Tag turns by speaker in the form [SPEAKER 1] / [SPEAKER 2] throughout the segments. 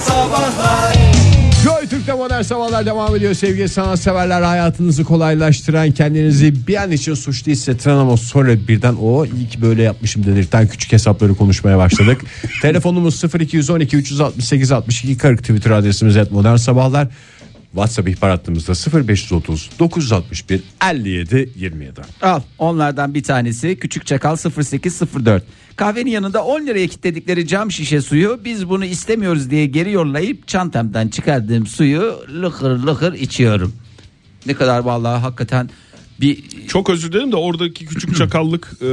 [SPEAKER 1] Sabahlar
[SPEAKER 2] Joy Türk'te modern sabahlar devam ediyor sevgili sanatseverler hayatınızı kolaylaştıran kendinizi bir an için suçlu hissettiren ama sonra birden o iyi ki böyle yapmışım dedirten küçük hesapları konuşmaya başladık. Telefonumuz 0212 368 62 40 Twitter adresimiz et modern sabahlar. WhatsApp ihbar hattımızda 0530 961 57 27.
[SPEAKER 3] Al onlardan bir tanesi Küçük Çakal 0804. Kahvenin yanında 10 liraya kilitledikleri cam şişe suyu biz bunu istemiyoruz diye geri yollayıp çantamdan çıkardığım suyu lıkır lıkır içiyorum. Ne kadar vallahi hakikaten bir
[SPEAKER 4] Çok özür dilerim de oradaki küçük çakallık e,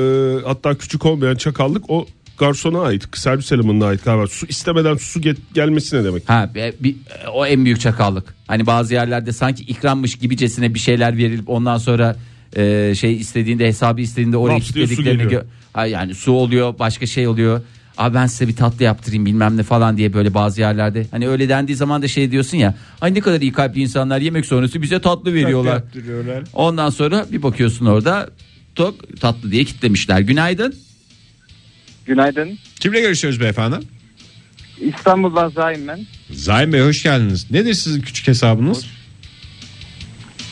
[SPEAKER 4] hatta küçük olmayan çakallık o garsona ait servis elemanına ait galiba. Su istemeden su get- gelmesine demek.
[SPEAKER 3] ha bir, bir- e, o en büyük çakallık. Hani bazı yerlerde sanki ikrammış gibicesine bir şeyler verilip ondan sonra e, şey istediğinde hesabı istediğinde oraya
[SPEAKER 4] Laps diye su
[SPEAKER 3] kilitlediklerini
[SPEAKER 4] geliyor.
[SPEAKER 3] gö- Ha, yani su oluyor başka şey oluyor. Abi ben size bir tatlı yaptırayım bilmem ne falan diye böyle bazı yerlerde. Hani öyle dendiği zaman da şey diyorsun ya. Ay ne kadar iyi kalpli insanlar yemek sonrası bize tatlı veriyorlar. Ondan sonra bir bakıyorsun orada tok tatlı diye kitlemişler. Günaydın.
[SPEAKER 5] Günaydın.
[SPEAKER 2] Kimle görüşüyoruz beyefendi?
[SPEAKER 5] İstanbul'dan Zahim ben.
[SPEAKER 2] Zaim Bey hoş geldiniz. Nedir sizin küçük hesabınız?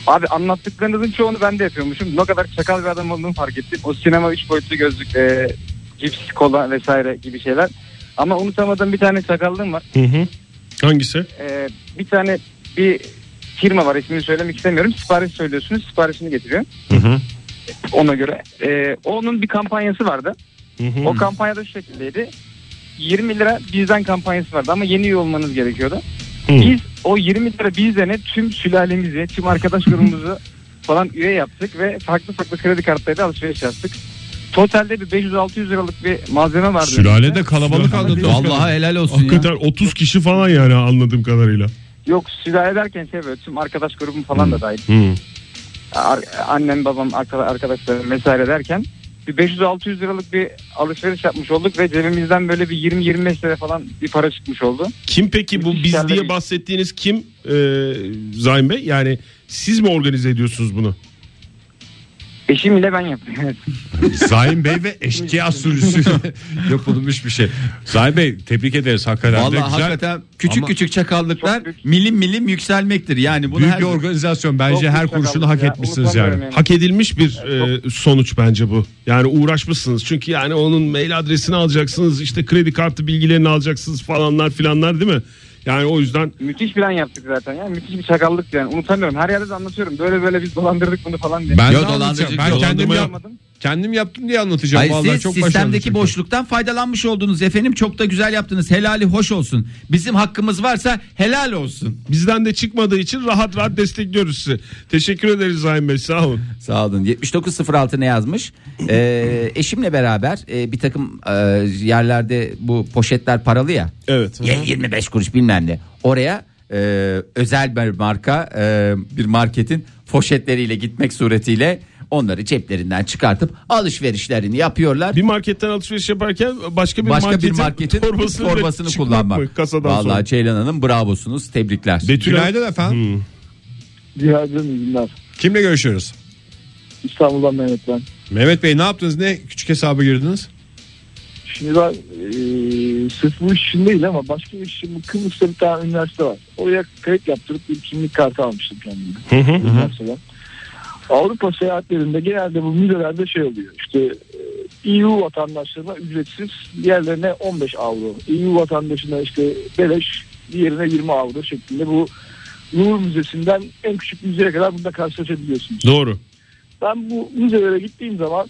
[SPEAKER 5] Abi anlattıklarınızın çoğunu ben de yapıyormuşum. Ne kadar çakal bir adam olduğumu fark ettim. O sinema 3 boyutlu gözlük, e, cips, kola vesaire gibi şeyler. Ama unutamadığım bir tane çakallığım var.
[SPEAKER 4] Hangisi?
[SPEAKER 5] E, bir tane bir firma var ismini söylemek istemiyorum. Sipariş söylüyorsunuz siparişini getiriyor. Ona göre. E, onun bir kampanyası vardı. O kampanyada şu şekildeydi. 20 lira bizden kampanyası vardı ama yeni üye olmanız gerekiyordu. Biz o 20 lira bizden'e tüm sülalemizi, tüm arkadaş grubumuzu falan üye yaptık ve farklı farklı kredi kartlarıyla alışveriş yaptık. Totalde bir 500-600 liralık bir malzeme vardı.
[SPEAKER 4] Sülale de
[SPEAKER 2] kalabalık anladım.
[SPEAKER 3] Vallahi helal olsun ya.
[SPEAKER 4] Hakikaten 30 kişi falan yani anladığım kadarıyla.
[SPEAKER 5] Yok sülale derken şey böyle tüm arkadaş grubum falan da dahil. Ar- annem babam arka- arkadaşlarım vesaire derken bir 500-600 liralık bir alışveriş yapmış olduk ve cebimizden böyle bir 20-25 lira falan bir para çıkmış oldu.
[SPEAKER 4] Kim peki bu biz diye bahsettiğiniz kim e, Zaim Bey? Yani siz mi organize ediyorsunuz bunu?
[SPEAKER 5] Eşim ile ben yaptım.
[SPEAKER 2] Zaim Bey ve eşkıya sürüsü yapılmış bir şey. Zaim Bey tebrik ederiz hakikaten. de
[SPEAKER 3] Vallahi
[SPEAKER 2] güzel.
[SPEAKER 3] hakikaten küçük
[SPEAKER 2] Ama-
[SPEAKER 3] küçük çakallıklar
[SPEAKER 5] Çok büyük.
[SPEAKER 3] milim milim yükselmektir. Yani bunu
[SPEAKER 2] Büyük
[SPEAKER 3] her
[SPEAKER 2] bir organizasyon bence
[SPEAKER 5] Çok
[SPEAKER 2] her
[SPEAKER 5] güzel
[SPEAKER 2] kuruşunu
[SPEAKER 5] oldu
[SPEAKER 2] hak
[SPEAKER 5] ya.
[SPEAKER 2] etmişsiniz
[SPEAKER 5] Unutamıyorum
[SPEAKER 2] yani.
[SPEAKER 5] yani.
[SPEAKER 4] Hak edilmiş bir e, sonuç bence bu. Yani uğraşmışsınız. Çünkü yani onun mail adresini alacaksınız, işte kredi kartı bilgilerini alacaksınız falanlar filanlar değil mi? Yani o yüzden
[SPEAKER 5] Müthiş plan yaptık zaten ya. Müthiş bir çakallık yani. Unutamıyorum. Her yerde de anlatıyorum. Böyle böyle biz dolandırdık bunu falan diye.
[SPEAKER 2] Ben,
[SPEAKER 3] Yo,
[SPEAKER 2] de
[SPEAKER 3] dolandırıcı
[SPEAKER 2] anlatacağım. ben
[SPEAKER 3] dolandırma
[SPEAKER 2] kendim, yap-
[SPEAKER 5] Anlamadım.
[SPEAKER 2] kendim yaptım diye anlatacağım.
[SPEAKER 3] Hayır,
[SPEAKER 2] Vallahi
[SPEAKER 3] siz
[SPEAKER 2] çok başarılı
[SPEAKER 3] sistemdeki
[SPEAKER 2] çünkü.
[SPEAKER 3] boşluktan faydalanmış oldunuz efendim. Çok da güzel yaptınız. Helali hoş olsun. Bizim hakkımız varsa helal olsun.
[SPEAKER 4] bizden de çıkmadığı için rahat rahat destekliyoruz sizi. Teşekkür ederiz Zaim Bey sağ olun.
[SPEAKER 3] Sağ olun. 7906 ne yazmış? Ee, eşimle beraber e, bir takım e, yerlerde bu poşetler paralı ya.
[SPEAKER 4] Evet.
[SPEAKER 3] Ye- 25 kuruş bilmem ne. Oraya e, özel bir marka e, bir marketin poşetleriyle gitmek suretiyle onları ceplerinden çıkartıp alışverişlerini yapıyorlar.
[SPEAKER 4] Bir marketten alışveriş yaparken başka bir,
[SPEAKER 3] başka
[SPEAKER 4] marketin,
[SPEAKER 3] bir marketin torbasını,
[SPEAKER 4] torbasını, çıkmak
[SPEAKER 3] kullanmak.
[SPEAKER 4] mı kasadan
[SPEAKER 3] Vallahi
[SPEAKER 4] sonra?
[SPEAKER 3] Ceylan Hanım bravosunuz. Tebrikler.
[SPEAKER 4] Betül Hanım-
[SPEAKER 2] Günaydın efendim.
[SPEAKER 6] Günaydın iyi günler.
[SPEAKER 2] Kimle görüşüyoruz?
[SPEAKER 6] İstanbul'dan Mehmet ben.
[SPEAKER 2] Mehmet Bey ne yaptınız? Ne küçük hesaba girdiniz?
[SPEAKER 6] Şimdi ben eee sırf bu iş için değil ama başka bir iş için bu Kıbrıs'ta bir tane üniversite var. Oraya kayıt yaptırıp bir kimlik kartı almıştım kendime. Üniversiteden. Avrupa seyahatlerinde genelde bu müzelerde şey oluyor. İşte eee, EU vatandaşlarına ücretsiz diğerlerine 15 avro. EU vatandaşına işte beleş diğerine 20 avro şeklinde bu Louvre Müzesi'nden en küçük müzeye kadar bunda karşılaşabiliyorsunuz.
[SPEAKER 4] Doğru.
[SPEAKER 6] Ben bu müzelere gittiğim zaman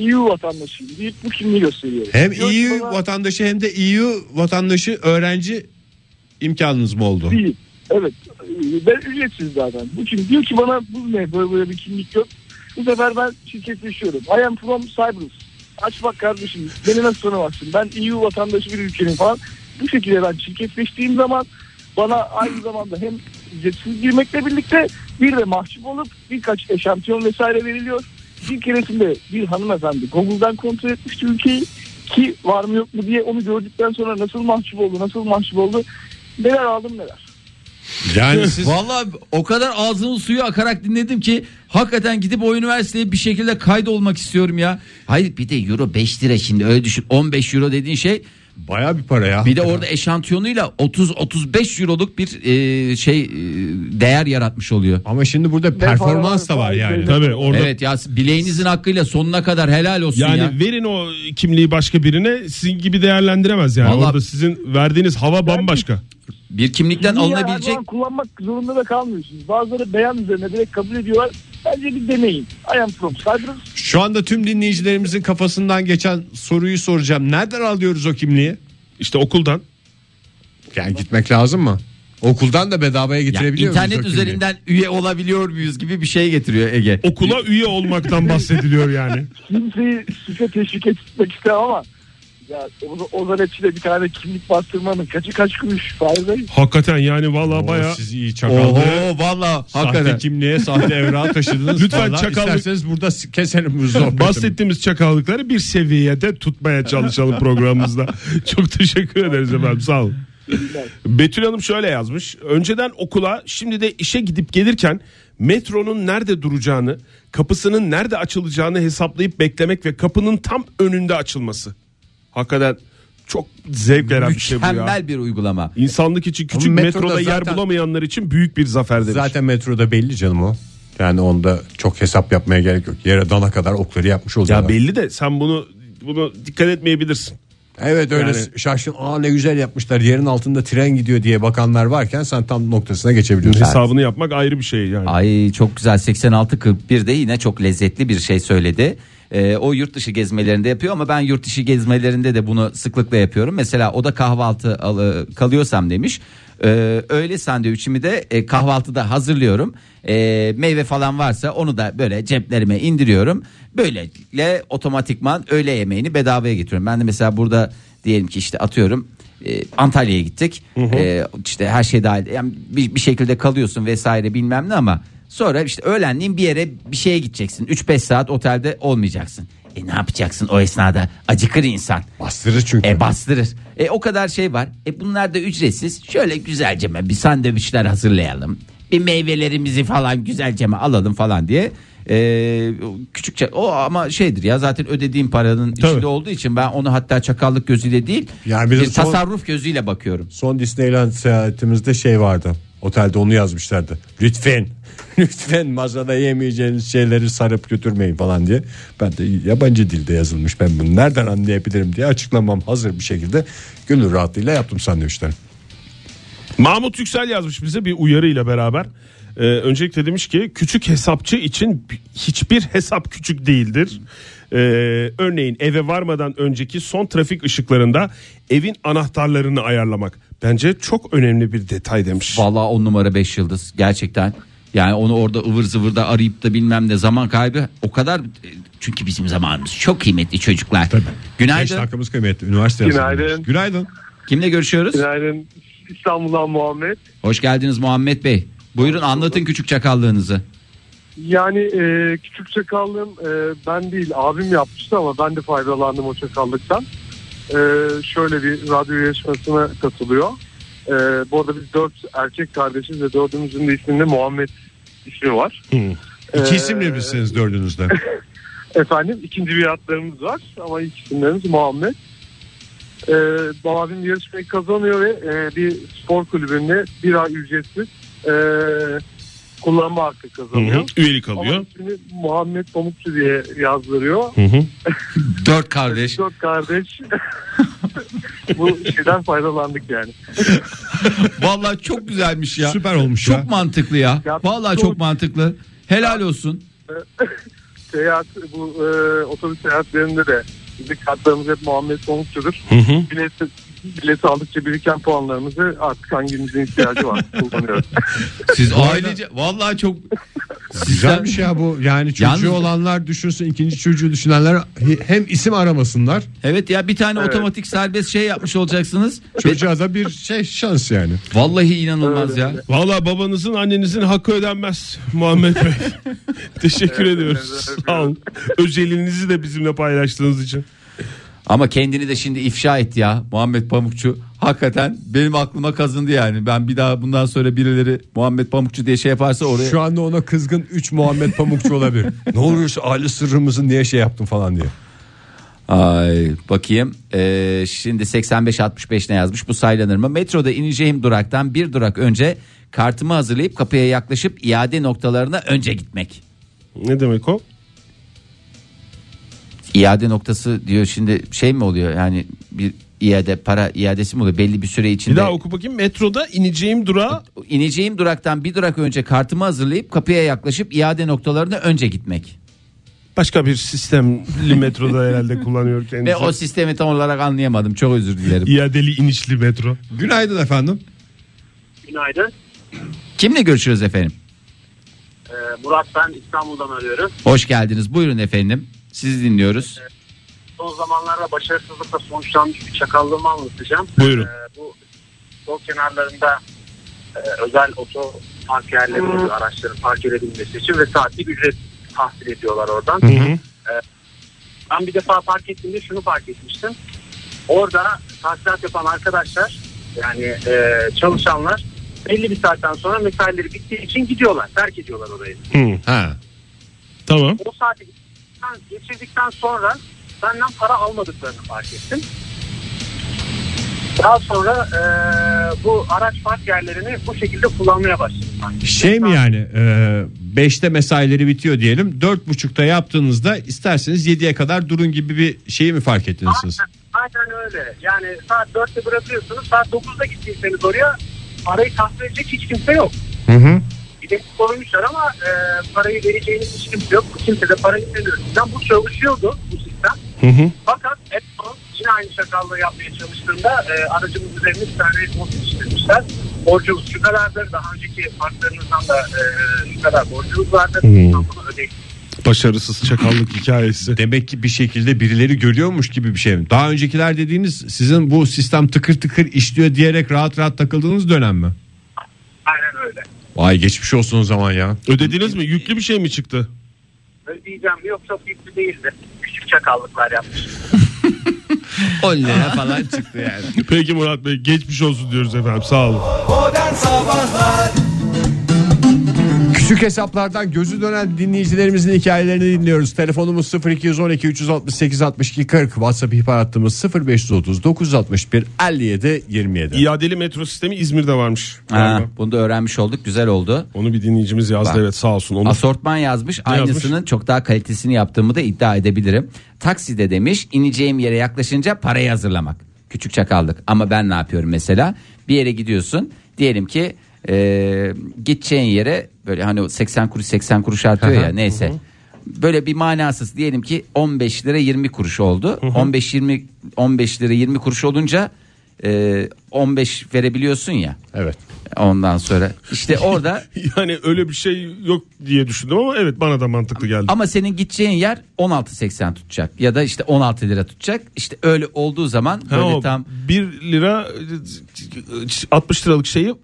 [SPEAKER 6] EU vatandaşıyım deyip bu kimliği gösteriyorum.
[SPEAKER 2] Hem
[SPEAKER 6] Diyor ki
[SPEAKER 2] EU
[SPEAKER 6] bana,
[SPEAKER 2] vatandaşı hem de EU vatandaşı öğrenci imkanınız mı oldu?
[SPEAKER 6] değil. Evet. e, Ben ücretsiz zaten. Bu kim? Diyor ki bana bu ne böyle böyle bir kimlik yok. Bu sefer ben şirketleşiyorum. I am from Cyprus. Aç bak kardeşim. Beni nasıl tanımazsın? Ben EU vatandaşı bir ülkenin falan. Bu şekilde ben şirketleştiğim zaman bana aynı zamanda hem ücretsiz girmekle birlikte bir de mahcup olup birkaç eşantiyon vesaire veriliyor. Bir keresinde bir hanımefendi Google'dan kontrol etmişti ülkeyi ki var mı yok mu diye onu gördükten sonra nasıl mahcup oldu nasıl mahcup oldu neler aldım neler.
[SPEAKER 2] Yani siz
[SPEAKER 3] Vallahi o kadar ağzının suyu akarak dinledim ki hakikaten gidip o üniversiteye bir şekilde kaydolmak istiyorum ya. Hayır bir de euro 5 lira şimdi öyle düşün. 15 euro dediğin şey
[SPEAKER 2] Baya bir para ya.
[SPEAKER 3] Bir de orada eşantiyonuyla 30-35 euroluk bir e, şey e, değer yaratmış oluyor.
[SPEAKER 2] Ama şimdi burada performans da var yani.
[SPEAKER 4] Tabii orada
[SPEAKER 3] Evet ya bileğinizin hakkıyla sonuna kadar helal olsun
[SPEAKER 4] Yani
[SPEAKER 3] ya.
[SPEAKER 4] verin o kimliği başka birine sizin gibi değerlendiremez yani.
[SPEAKER 3] Vallahi-
[SPEAKER 4] Orada sizin verdiğiniz hava bambaşka.
[SPEAKER 3] Bir kimlikten
[SPEAKER 6] Niye her
[SPEAKER 3] alınabilecek
[SPEAKER 6] zaman kullanmak zorunda da kalmıyorsunuz. Bazıları beyan üzerine direkt kabul ediyorlar. Bence bir deneyin. I am from Cyprus.
[SPEAKER 2] Şu anda tüm dinleyicilerimizin kafasından geçen soruyu soracağım. Nereden alıyoruz o kimliği?
[SPEAKER 4] İşte okuldan.
[SPEAKER 2] Yani gitmek lazım mı? Okuldan da bedavaya
[SPEAKER 3] Ya
[SPEAKER 2] getirebiliyor muyuz
[SPEAKER 3] internet
[SPEAKER 2] o kimliği?
[SPEAKER 3] üzerinden üye olabiliyor muyuz gibi bir şey getiriyor Ege.
[SPEAKER 4] Okula üye olmaktan bahsediliyor yani.
[SPEAKER 6] Kimseyi suça teşvik etmek istemem ama ya o, o zanetçide bir tane kimlik bastırmanın kaçı kaç kuruş faiz ayı.
[SPEAKER 4] Hakikaten yani valla
[SPEAKER 2] Oo,
[SPEAKER 4] baya
[SPEAKER 2] Siz iyi çakalları.
[SPEAKER 3] Oho valla
[SPEAKER 2] Sahte
[SPEAKER 3] hakikaten.
[SPEAKER 2] kimliğe sahte evrağı taşıdınız.
[SPEAKER 4] Lütfen
[SPEAKER 2] Vallahi
[SPEAKER 4] çakallık-
[SPEAKER 2] İsterseniz burada s- keselim bu sohbetimi.
[SPEAKER 4] bahsettiğimiz çakallıkları bir seviyede tutmaya çalışalım programımızda. Çok teşekkür ederiz efendim sağ olun. Betül Hanım şöyle yazmış. Önceden okula şimdi de işe gidip gelirken metronun nerede duracağını, kapısının nerede açılacağını hesaplayıp beklemek ve kapının tam önünde açılması. Hakikaten çok zevk veren bir şey bu ya.
[SPEAKER 3] Mükemmel bir uygulama.
[SPEAKER 4] İnsanlık için küçük
[SPEAKER 2] Ama
[SPEAKER 4] metroda,
[SPEAKER 2] metroda
[SPEAKER 4] yer
[SPEAKER 2] zaten-
[SPEAKER 4] bulamayanlar için büyük bir zafer demiş.
[SPEAKER 2] Zaten metroda belli canım o. Yani onda çok hesap yapmaya gerek yok. Yere dana kadar okları yapmış
[SPEAKER 4] Ya
[SPEAKER 2] oluyorlar.
[SPEAKER 4] belli de sen bunu bunu dikkat etmeyebilirsin.
[SPEAKER 2] evet öyle
[SPEAKER 4] Yani-
[SPEAKER 2] şaşkın. Aa ne güzel yapmışlar. Yerin altında tren gidiyor diye bakanlar varken sen tam noktasına geçebiliyorsun.
[SPEAKER 4] Hesabını yapmak ayrı bir şey yani.
[SPEAKER 3] Ay çok güzel 86-41'de yine çok lezzetli bir şey söyledi. Ee, o yurt dışı gezmelerinde yapıyor ama ben yurt dışı gezmelerinde de bunu sıklıkla yapıyorum. Mesela o da kahvaltı alı, kalıyorsam demiş. Ee, öğle sandviçimi de e, kahvaltıda hazırlıyorum. Ee, meyve falan varsa onu da böyle ceplerime indiriyorum. Böylelikle otomatikman öğle yemeğini bedavaya getiriyorum. Ben de mesela burada diyelim ki işte atıyorum e, Antalya'ya gittik. E, işte her şey dahil yani bir, bir şekilde kalıyorsun vesaire bilmem ne ama sonra işte öğlenliğin bir yere bir şeye gideceksin. 3-5 saat otelde olmayacaksın. E ne yapacaksın o esnada? Acıkır insan.
[SPEAKER 2] Bastırır çünkü.
[SPEAKER 3] E bastırır. E o kadar şey var. E bunlar da ücretsiz. Şöyle güzelceme bir sandviçler hazırlayalım. Bir meyvelerimizi falan güzelceme alalım falan diye. E, küçükçe o ama şeydir ya zaten ödediğim paranın içinde olduğu için ben onu hatta çakallık gözüyle değil
[SPEAKER 2] Yani
[SPEAKER 3] bir
[SPEAKER 2] biraz son-
[SPEAKER 3] tasarruf gözüyle bakıyorum.
[SPEAKER 2] Son Disneyland seyahatimizde şey vardı. Otelde onu yazmışlardı. Lütfen lütfen masada yemeyeceğiniz şeyleri sarıp götürmeyin falan diye. Ben de yabancı dilde yazılmış. Ben bunu nereden anlayabilirim diye açıklamam hazır bir şekilde. Gönül rahatlığıyla yaptım sandviçleri.
[SPEAKER 4] Mahmut Yüksel yazmış bize bir uyarıyla beraber. Ee, öncelikle demiş ki küçük hesapçı için bi- hiçbir hesap küçük değildir. Ee, örneğin eve varmadan önceki son trafik ışıklarında evin anahtarlarını ayarlamak. Bence çok önemli bir detay demiş.
[SPEAKER 3] Vallahi on numara 5 yıldız gerçekten. Yani onu orada ıvır zıvırda arayıp da bilmem ne zaman kaybı o kadar çünkü bizim zamanımız çok kıymetli çocuklar.
[SPEAKER 2] Beş
[SPEAKER 3] Günaydın.
[SPEAKER 2] dakikamız kıymetli. Üniversite yazılmış.
[SPEAKER 6] Günaydın.
[SPEAKER 2] Günaydın.
[SPEAKER 3] Kimle görüşüyoruz?
[SPEAKER 6] Günaydın İstanbul'dan Muhammed.
[SPEAKER 3] Hoş geldiniz Muhammed Bey. Buyurun anlatın küçük çakallığınızı.
[SPEAKER 6] Yani e, küçük çakallığım e, ben değil abim yapmıştı ama ben de faydalandım o çakallıktan. E, şöyle bir radyo yarışmasına katılıyor. E, bu arada biz dört erkek kardeşiz ve dördümüzün de isminde Muhammed ismi var.
[SPEAKER 2] İki
[SPEAKER 6] Ee,
[SPEAKER 2] isimli misiniz dördünüzde?
[SPEAKER 6] Efendim ikinci bir atlarımız var ama ilk isimlerimiz Muhammed. E, abim yarışmayı kazanıyor ve e, bir spor kulübünde bir ay ücretsiz e, kullanma hakkı kazanıyor.
[SPEAKER 4] Üyelik
[SPEAKER 6] Ama
[SPEAKER 4] alıyor.
[SPEAKER 6] ismini Muhammed Pamukçu diye yazdırıyor.
[SPEAKER 3] Dört kardeş.
[SPEAKER 6] Dört kardeş. Bu şeyden faydalandık yani.
[SPEAKER 3] Vallahi çok güzelmiş ya.
[SPEAKER 2] Süper olmuş ya.
[SPEAKER 3] Çok mantıklı ya.
[SPEAKER 6] Ya,
[SPEAKER 3] Vallahi
[SPEAKER 6] çok-
[SPEAKER 3] çok mantıklı. Helal olsun.
[SPEAKER 6] Seyahat bu e, otobüs seyahatlerinde de bizim kartlarımız hep Muhammed Pamukçu'dur. Bilet, bilet aldıkça biriken puanlarımızı artık hangimizin ihtiyacı var kullanıyoruz.
[SPEAKER 3] Siz ailece vallahi çok Sizden-
[SPEAKER 2] Güzelmiş şey ya bu. Yani çocuğu
[SPEAKER 3] Yalnız-
[SPEAKER 2] olanlar düşünsün, ikinci çocuğu düşünenler he- hem isim aramasınlar.
[SPEAKER 3] Evet ya bir tane
[SPEAKER 6] Evet.
[SPEAKER 3] otomatik serbest şey yapmış olacaksınız. Ve-
[SPEAKER 2] Çocuğa da bir şey şans yani.
[SPEAKER 3] Vallahi inanılmaz ya.
[SPEAKER 4] Valla babanızın annenizin hakkı ödenmez Muhammed Bey. Teşekkür
[SPEAKER 6] Evet,
[SPEAKER 4] ediyoruz.
[SPEAKER 6] evet,
[SPEAKER 4] Sağ olun. Özelinizi de bizimle paylaştığınız için.
[SPEAKER 3] Ama kendini de şimdi ifşa etti ya Muhammed Pamukçu. Hakikaten benim aklıma kazındı yani. Ben bir daha bundan sonra birileri Muhammed Pamukçu diye şey yaparsa oraya.
[SPEAKER 2] Şu anda ona kızgın 3 Muhammed Pamukçu olabilir. ne oluyorsa aile sırrımızı niye şey yaptın falan diye.
[SPEAKER 3] Ay, bakayım. Ee, şimdi 85-65 ne yazmış? Bu saylanır mı? Metroda ineceğim duraktan bir durak önce kartımı hazırlayıp kapıya yaklaşıp iade noktalarına önce gitmek.
[SPEAKER 4] Ne demek o?
[SPEAKER 3] İade noktası diyor şimdi şey mi oluyor? Yani bir iade para iadesi mi oluyor? Belli bir süre
[SPEAKER 4] Bir
[SPEAKER 3] içinde.
[SPEAKER 4] daha oku bakayım. Metroda ineceğim durağa
[SPEAKER 3] İneceğim duraktan bir durak önce kartımı hazırlayıp kapıya yaklaşıp iade noktalarına önce gitmek.
[SPEAKER 4] başka bir sistemli metroda herhalde kullanıyor kendisi.
[SPEAKER 3] Ve o sistemi tam olarak anlayamadım. Çok özür dilerim.
[SPEAKER 4] İadeli inişli metro.
[SPEAKER 2] Günaydın efendim.
[SPEAKER 1] Günaydın.
[SPEAKER 3] Kimle görüşüyoruz efendim?
[SPEAKER 1] Ee, Murat ben İstanbul'dan arıyorum.
[SPEAKER 3] Hoş geldiniz. Buyurun efendim. Sizi dinliyoruz.
[SPEAKER 1] Son zamanlarda başarısızlıkla sonuçlanmış bir çakallığımı anlatacağım.
[SPEAKER 4] Buyurun.
[SPEAKER 1] Ee, bu yol kenarlarında e, özel oto park yerleri oluyor araçların park edebilmesi için ve saatlik ücret tahsil ediyorlar oradan. E, Ben bir defa park ettiğimde şunu fark etmiştim. Orada tahsilat yapan arkadaşlar yani e, çalışanlar belli bir saatten sonra mesaileri bittiği için gidiyorlar. Terk ediyorlar orayı.
[SPEAKER 2] Ha.
[SPEAKER 4] Tamam.
[SPEAKER 1] o saati geçirdikten- geçirdikten sonra benden para almadıklarını fark ettim. Daha sonra eee, bu araç park yerlerini bu şekilde kullanmaya başladım. ben.
[SPEAKER 2] Şey mi yani 5'te mesaileri bitiyor diyelim. Dört buçukta yaptığınızda isterseniz 7'ye kadar durun gibi bir şeyi mi fark ettiniz siz?
[SPEAKER 1] Aynen, aynen öyle. Yani saat 4'te bırakıyorsunuz. Saat 9'da gittiyseniz oraya parayı tahsil edecek hiç kimse yok. Bir de sormuşlar ama eee, parayı vereceğiniz hiç kimse yok. Kimse de para istemiyor. Bizden bu çalışıyordu bu sistem. Fakat Apple yine aynı şakallığı yapmaya çalıştığında e, aracımız üzerine bir tane borç işlemişler. Borcumuz şu kadardır. Daha önceki farklarınızdan da e, şu kadar borcumuz vardır. Tam bunu ödeyin.
[SPEAKER 4] Başarısız çakallık hikayesi.
[SPEAKER 2] Demek ki bir şekilde birileri görüyormuş gibi bir şey mi? Daha öncekiler dediğiniz sizin bu sistem tıkır tıkır işliyor diyerek rahat rahat takıldığınız dönem mi?
[SPEAKER 1] Aynen öyle.
[SPEAKER 2] Vay geçmiş olsun o zaman ya.
[SPEAKER 4] Ödediniz mi? Yüklü bir şey mi çıktı?
[SPEAKER 1] Ödeyeceğim mi? Yoksa fikri değildi. Küçük çakallıklar yapmış.
[SPEAKER 3] 10 lira falan çıktı yani.
[SPEAKER 4] Peki Murat Bey geçmiş olsun diyoruz efendim. Sağ olun.
[SPEAKER 2] Küçük hesaplardan gözü dönen dinleyicilerimizin hikayelerini dinliyoruz. Telefonumuz 0212 368 62 40. WhatsApp ihbar hattımız 0530 961 57 27.
[SPEAKER 4] İadeli metro sistemi İzmir'de varmış.
[SPEAKER 3] Ha, bunu da öğrenmiş olduk. Güzel oldu.
[SPEAKER 4] Onu bir dinleyicimiz yazdı evet sağ olsun. Onu
[SPEAKER 3] Asortman yazmış. Aynısının çok daha kalitesini yaptığımı da iddia edebilirim. Takside demiş ineceğim yere yaklaşınca parayı hazırlamak. Küçük çakallık. Ama ben ne yapıyorum mesela? Bir yere gidiyorsun. Diyelim ki e, gideceğin yere böyle hani o 80 kuruş 80 kuruş artıyor ya neyse. Böyle bir manasız diyelim ki 15 lira 20 kuruş oldu. 15 20 15 lira 20 kuruş olunca e, 15 verebiliyorsun ya.
[SPEAKER 2] Evet.
[SPEAKER 3] Ondan sonra işte orada
[SPEAKER 4] yani öyle bir şey yok diye düşündüm ama evet bana da mantıklı geldi.
[SPEAKER 3] Ama senin gideceğin yer 16.80 tutacak ya da işte 16 lira tutacak. İşte öyle olduğu zaman
[SPEAKER 4] Ha,
[SPEAKER 3] böyle
[SPEAKER 4] o
[SPEAKER 3] tam
[SPEAKER 4] 1 lira e, 60 liralık şeyi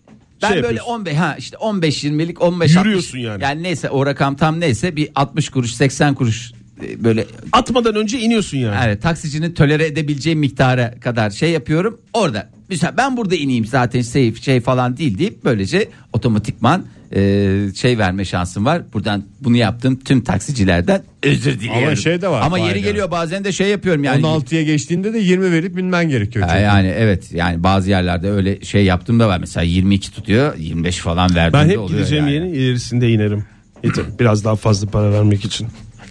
[SPEAKER 3] ben
[SPEAKER 4] şey
[SPEAKER 3] böyle
[SPEAKER 4] yapıyorsun.
[SPEAKER 3] 15 ha işte 15 20'lik 15
[SPEAKER 4] Yürüyorsun yani.
[SPEAKER 3] Yani neyse o rakam tam neyse bir 60 kuruş 80 kuruş e, böyle
[SPEAKER 4] Atmadan önce iniyorsun yani.
[SPEAKER 3] yani taksicinin tölere edebileceği miktara kadar şey yapıyorum. Orada mesela ben burada ineyim zaten safe şey falan değil deyip böylece otomatikman e, şey verme şansım var. Buradan bunu yaptım tüm taksicilerden özür diliyorum.
[SPEAKER 2] şey de var
[SPEAKER 3] Ama yeri
[SPEAKER 2] fayda.
[SPEAKER 3] geliyor bazen de şey yapıyorum yani.
[SPEAKER 2] 16'ya geçtiğinde de 20 verip binmen gerekiyor.
[SPEAKER 3] Ha, E, yani evet yani bazı yerlerde öyle şey yaptığım da var. Mesela 22 tutuyor 25 falan verdiğimde
[SPEAKER 4] Ben hep
[SPEAKER 3] oluyor
[SPEAKER 4] gideceğim
[SPEAKER 3] yani.
[SPEAKER 4] yerin ilerisinde inerim. Yeter. Biraz daha fazla para vermek için.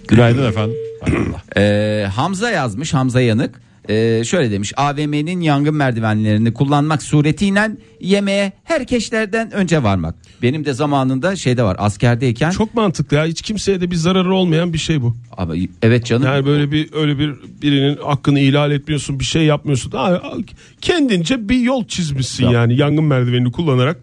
[SPEAKER 2] Günaydın efendim.
[SPEAKER 3] Ee, Hamza yazmış Hamza Yanık. Ee, şöyle demiş AVM'nin yangın merdivenlerini kullanmak suretiyle yemeğe herkeslerden önce varmak. Benim de zamanında şeyde var askerdeyken.
[SPEAKER 4] Çok mantıklı ya. Hiç kimseye de bir zararı olmayan bir şey bu.
[SPEAKER 3] Ama, evet canım.
[SPEAKER 4] Yani böyle bir öyle bir birinin hakkını ihlal etmiyorsun, bir şey yapmıyorsun. Ha, kendince bir yol çizmişsin
[SPEAKER 3] Ya.
[SPEAKER 4] yani yangın merdivenini kullanarak.